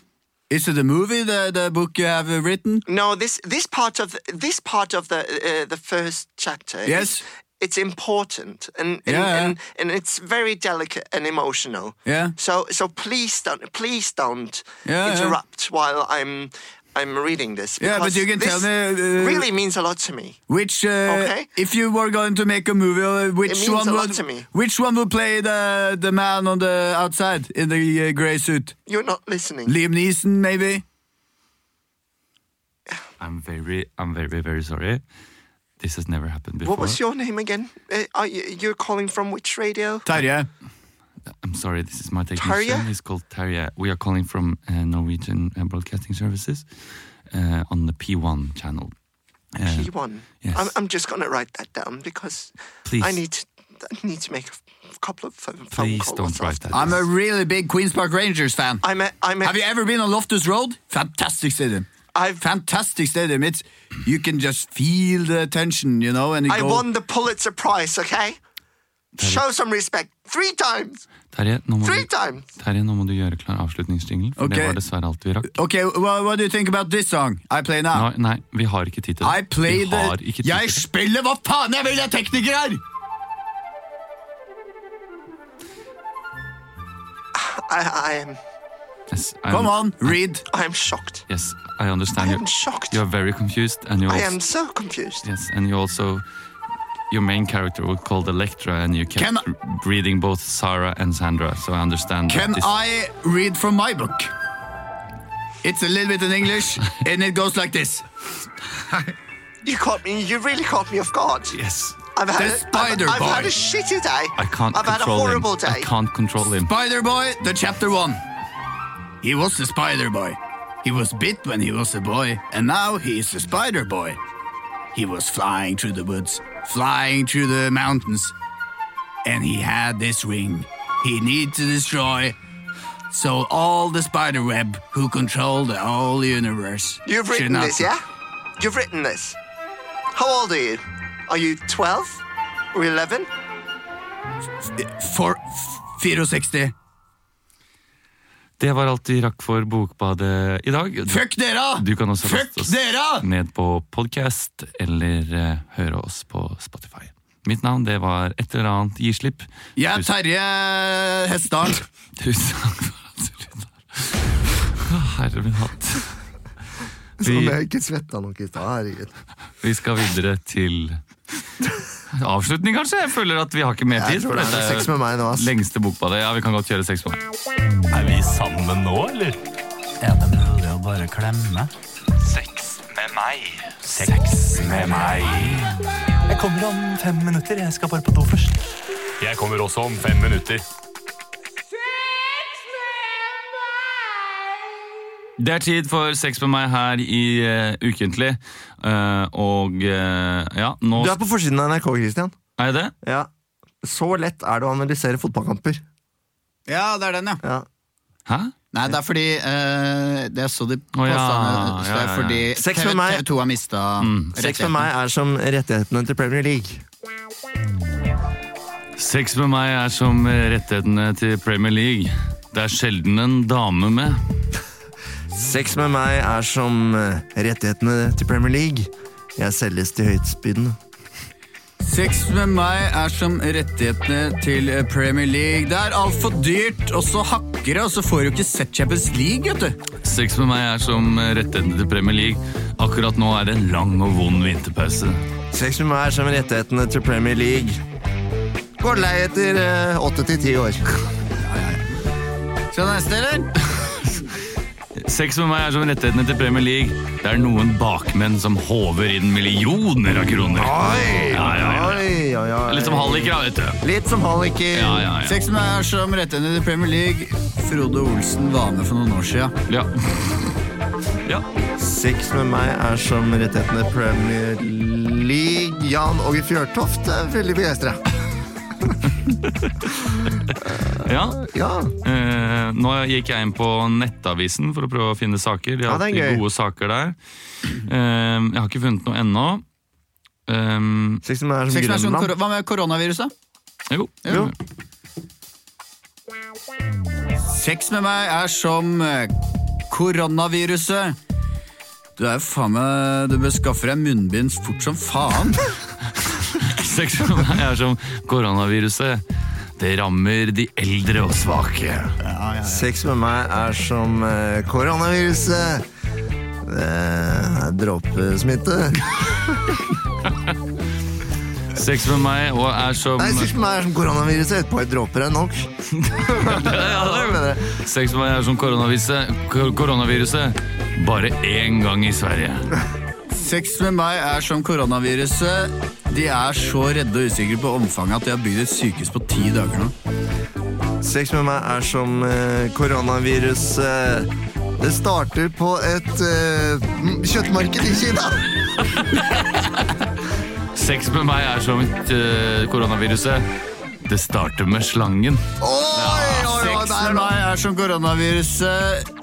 S2: Is it a movie, the, the book you have uh, written?
S6: No, this this part of this part of the uh, the first chapter. is-
S2: Yes.
S6: it's important and and,
S2: Yeah.
S6: and and it's very delicate and emotional.
S2: Yeah.
S6: So so please don't please don't
S2: Yeah, yeah.
S6: interrupt while I'm I'm reading this.
S2: Yeah, but
S6: because
S2: you can tell
S6: this
S2: me, uh,
S6: really means a lot to me.
S2: Which, uh,
S6: Okay.
S2: if you were going to make a movie, uh,
S6: It
S2: which
S6: means
S2: one
S6: a lot
S2: would
S6: to me.
S2: which one would play the the man on the outside in the uh, gray suit?
S6: You're not listening.
S2: Liam Neeson, maybe.
S1: I'm very, I'm very, very sorry. This has never happened before.
S6: What was your name again? Uh, are you, you're calling from which radio?
S2: Tarjei.
S1: I'm sorry, this is my technician.
S6: Tarja?
S1: He's called Tarja. We are calling from uh, Norwegian uh, Broadcasting Services uh, on the P1 channel. Uh,
S6: P1.
S1: yes.
S6: I'm, I'm just gonna write that down because
S1: Please.
S6: I need to, I need to make a f- couple of phone, phone
S1: Please
S6: calls.
S1: don't write
S6: after
S1: that.
S2: I'm a really big Queens Park Rangers fan.
S6: I'm a, I'm a,
S2: have you ever been on Loftus Road? Fantastic stadium.
S6: I've
S2: Fantastic stadium. It's you can just feel the tension, you know, and you
S6: I
S2: go.
S6: won the Pulitzer Prize, okay? Show some respect. Three times.
S1: Terje, nå må,
S6: Three
S1: du,
S6: times.
S1: Terje, nå må du gjøre klar avslutningsjingle, for
S2: Ok.
S1: det var dessverre alt vi rakk.
S2: Okay, well, what do you think about this song I play now?
S1: Nei, nei, vi har ikke tid til
S2: I
S1: det.
S2: play
S1: Vi har
S2: the
S1: ikke tid
S2: Jeg
S1: til det.
S2: spiller hva faen jeg vil, jeg er tekniker her!
S6: I, I am
S1: Yes, I'm-
S2: Come on, read.
S6: I am shocked.
S1: Yes, I understand
S6: I
S1: you.
S6: am shocked.
S1: You're very confused, and you
S6: I
S1: also,
S6: am so confused.
S1: yes, and you also, your main character was called Electra, and you kept
S2: Can I-
S1: r- reading both Sarah and Sandra. So I understand.
S2: Can
S1: that this,
S2: I read from my book? It's a little bit in English, and it goes like this.
S6: You caught me. You really caught me off guard.
S1: Yes,
S6: I've had
S2: The
S6: a,
S2: spider
S6: I've, I've
S2: boy.
S6: had a shitty day.
S1: I can't
S6: I've had a
S1: control
S6: horrible
S1: him.
S6: day.
S1: I can't control him.
S2: Spider Boy, the chapter one. He was a spider boy. He was bit when he was a boy, and now he is a spider boy. He was flying through the woods, flying through the mountains, and he had this ring he needed to destroy. So all the spider web who control the whole universe.
S6: You've
S2: should
S6: written
S2: not-
S6: this, yeah? You've written this. How old are you? Are you 12 or 11?
S2: For 64.
S1: Det var alt vi rakk for Bokbadet i dag.
S2: Fuck dere!
S1: Du kan også
S2: Fuck
S1: laste oss
S2: dere!
S1: ned på podcast eller eh, høre oss på Spotify. Mitt navn det var et eller annet gi slipp.
S2: Jeg er Terje Hessdal.
S1: Tusen takk for at du lytta. Å, Herre min hatt.
S11: Som Sånn jeg ikke svetta nok i stad. Herregud.
S1: Vi skal videre til avslutning, kanskje? Jeg føler at vi har ikke mer
S11: Jeg
S1: tid.
S11: tror det er sex med meg nå, altså. ass.
S1: Lengste bokbadet. Ja, vi kan godt kjøre sex på.
S7: Er vi sammen nå, eller?
S12: Er det mulig å bare klemme?
S7: Sex med meg. Sex med meg.
S12: Jeg kommer om fem minutter. Jeg skal bare på do først.
S7: Jeg kommer også om fem minutter.
S1: Det er tid for sex med meg her i eh, Ukentlig. Eh, og eh, ja, nå
S3: Du er på forsiden av NRK, Christian.
S1: Er jeg det?
S3: Ja. Så lett er det å analysere fotballkamper.
S2: Ja, det er den, ja.
S1: Hæ?
S2: Nei, det er fordi eh, Det er så de
S3: Å, ja.
S2: påstandene. Så det
S3: Ja, ja,
S2: er
S3: ja.
S2: fordi
S3: Sex
S2: TV,
S3: med meg-
S2: TV2 har mista
S1: Mm.
S3: Sex med meg er som rettighetene til Premier League.
S1: Sex med meg er som rettighetene til Premier League. Det er sjelden en dame med.
S3: Sex med meg er som eh, rettighetene til Premier League. Jeg selges til høytspydende.
S2: Sex med meg er som rettighetene til eh, Premier League. Det er altfor dyrt, og så hakker det, og så får du ikke sett Champions League, vet du.
S1: Sex med meg er som rettighetene til Premier League. Akkurat nå er det en lang og vond vinterpause.
S3: Sex med meg er som rettighetene til Premier League. Går lei etter eh, åtte til ti år.
S2: Skal du neste, eller?
S1: Sex med meg er som rettighetene til Premier League. Det er noen bakmenn som håver inn millioner av kroner. Oi, ja, ja, ja.
S3: Oi, oi, oi.
S1: Litt som halliker, da, vet du.
S3: Litt som halliker.
S1: Ja, ja, ja.
S2: Sex med meg er som rettighetene til Premier League. Frode Olsen var med for noen år sia.
S1: Ja.
S3: Sex med meg er som rettighetene til Premier League. Jan Åge Fjørtoft er veldig begeistra.
S1: Ja. Eh, nå gikk jeg inn på Nettavisen for å prøve å finne saker. De har
S3: Ja, det er
S1: alltid
S3: gøy.
S1: gode saker der. Eh, jeg har ikke funnet noe ennå. Um,
S3: Sex med meg
S2: Sex med meg er som kor- Hva med koronaviruset?
S1: Eh, Jo.
S2: Sex med meg er som eh, koronaviruset. Du er jo faen meg Du bør skaffe deg munnbind fort som faen.
S1: Sex med meg er som koronaviruset. Det rammer de eldre og svake.
S3: Sex med meg er som eh, koronaviruset. Det er dråpesmitte.
S1: Sex med meg og er som
S3: Nei, sex med meg er som koronaviruset. Et par dråper er nok.
S1: Sex med meg er som koronaviruset. Kor- koronaviruset. Bare én gang i Sverige.
S2: Sex med meg er som koronaviruset. De er så redde og usikre på omfanget at de har bygd et sykehus på ti dager nå.
S3: Sex med meg er som eh, koronaviruset.
S11: Det starter på et eh, m- kjøttmarked i Kina.
S1: Sex med meg er som et, eh, koronaviruset. Det starter med slangen.
S2: Sex med meg er som koronaviruset.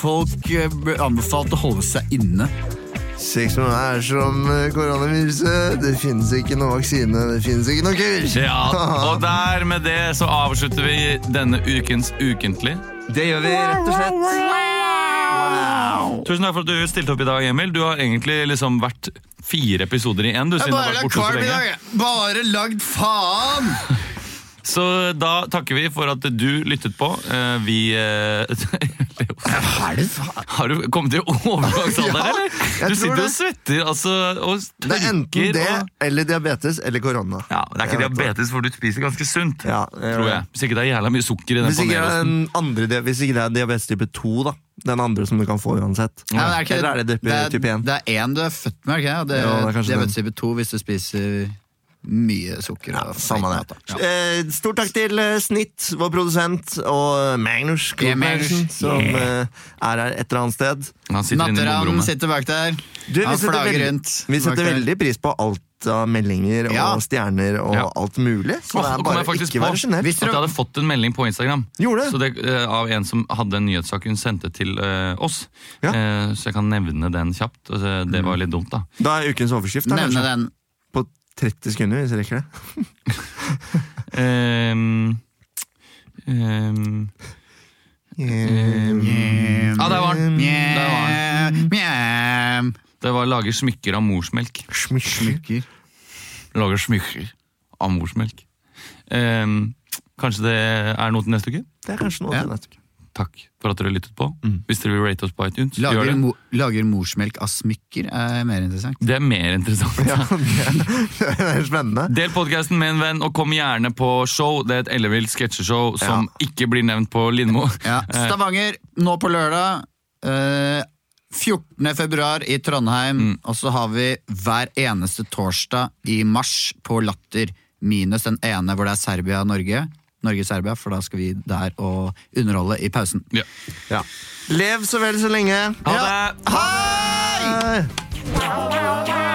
S2: Folk eh, ble anbefalt å holde seg inne.
S11: Sex med meg er som eh, koronaviruset. Det finnes ikke noen vaksine, det finnes ikke noen kur.
S1: Ja, og der med det så avslutter vi denne ukens Ukentlig.
S3: Det gjør vi rett og slett.
S1: Tusen takk for at du stilte opp i dag, Emil. Du har egentlig liksom vært fire episoder i én. Du,
S2: Jeg
S1: siden du har
S2: bare
S1: vært
S2: lagd
S1: borte så
S2: kvalm i dag,
S1: lenge.
S2: jeg. Bare lagd faen!
S1: Så da takker vi for at du lyttet på. Eh, Vi eh, Har du kommet i overgangsalder,
S11: Ja,
S1: eller?
S11: jeg tror
S1: Du sitter og
S11: det.
S1: svetter altså, og tørker.
S11: Det er enten det
S1: og...
S11: eller diabetes eller korona.
S1: Ja, Det er ikke diabetes, for du spiser ganske sunt. tror jeg. Hvis ikke det er jævla mye sukker i den
S3: Hvis ikke, det er
S1: panelosten.
S3: den andre, dia- hvis ikke det er diabetes type 2, da. Den andre som du kan få uansett.
S2: Nei, men det er ikke-
S3: Eller er det type,
S2: det er-
S3: type 1?
S2: Det er én du er født med, er det ikke det?
S3: Jo, det er
S2: det?
S3: kanskje
S2: Det er diabetes type 2 hvis du spiser mye sukker. og
S3: Samme
S2: feit
S3: det.
S2: mat, da.
S3: Eh, stor takk til eh, Snitt, vår produsent, og eh, Magnus
S2: Ja,
S3: Klubbergsen,
S2: Magnus.
S3: som
S2: Yeah.
S3: eh, er her et eller annet sted.
S2: Natteravn sitter bak der.
S3: Du, vi
S2: Han
S3: setter,
S2: flagger
S3: veldig,
S2: rundt.
S3: vi
S2: bak
S3: setter
S2: der.
S3: veldig pris på alt av meldinger og
S2: Ja.
S3: stjerner og
S1: Ja.
S3: alt mulig. Så
S1: Åh,
S3: det
S1: nå
S3: er
S1: kom
S3: bare
S1: jeg faktisk
S3: ikke
S1: på
S3: være sjenert.
S1: At jeg hadde fått en melding på Instagram Så det, eh, Av en som hadde en nyhetssak hun sendte til eh, oss. Eh, så jeg kan nevne den kjapt. Altså, det var litt dumt, da.
S3: Da er ukens overskrift. Da,
S1: Nevne
S3: kanskje.
S1: den.
S3: På 30 sekunder, hvis jeg rekker det.
S1: Ehm, ehm, eh, lager smykker av morsmelk.
S2: Smykker.
S1: Lager smykker av morsmelk. Eh, kanskje det er noe til neste uke?
S3: Det er kanskje noe til neste uke.
S1: Takk for at dere lyttet på. Hvis dere vil rate oss på iTunes, gjør
S2: Lager,
S1: det.
S2: mo lager morsmelk av smykker er mer interessant.
S1: Det er mer interessant.
S3: det er spennende.
S1: Del podkasten med en venn, og kom gjerne på show. Det er et ellevilt sketsjeshow som ikke blir nevnt på Lindmo.
S2: Ja.
S1: Eh,
S2: Stavanger, nå på lørdag. Eh, 14. februar i Trondheim. Og så har vi hver eneste torsdag i mars på Latter, minus den ene hvor det er Serbia-Norge. Norge-Serbia, for da skal vi der og underholde i pausen.
S3: Lev så vel så lenge.
S1: Ha det!
S3: Hei!
S13: Hei!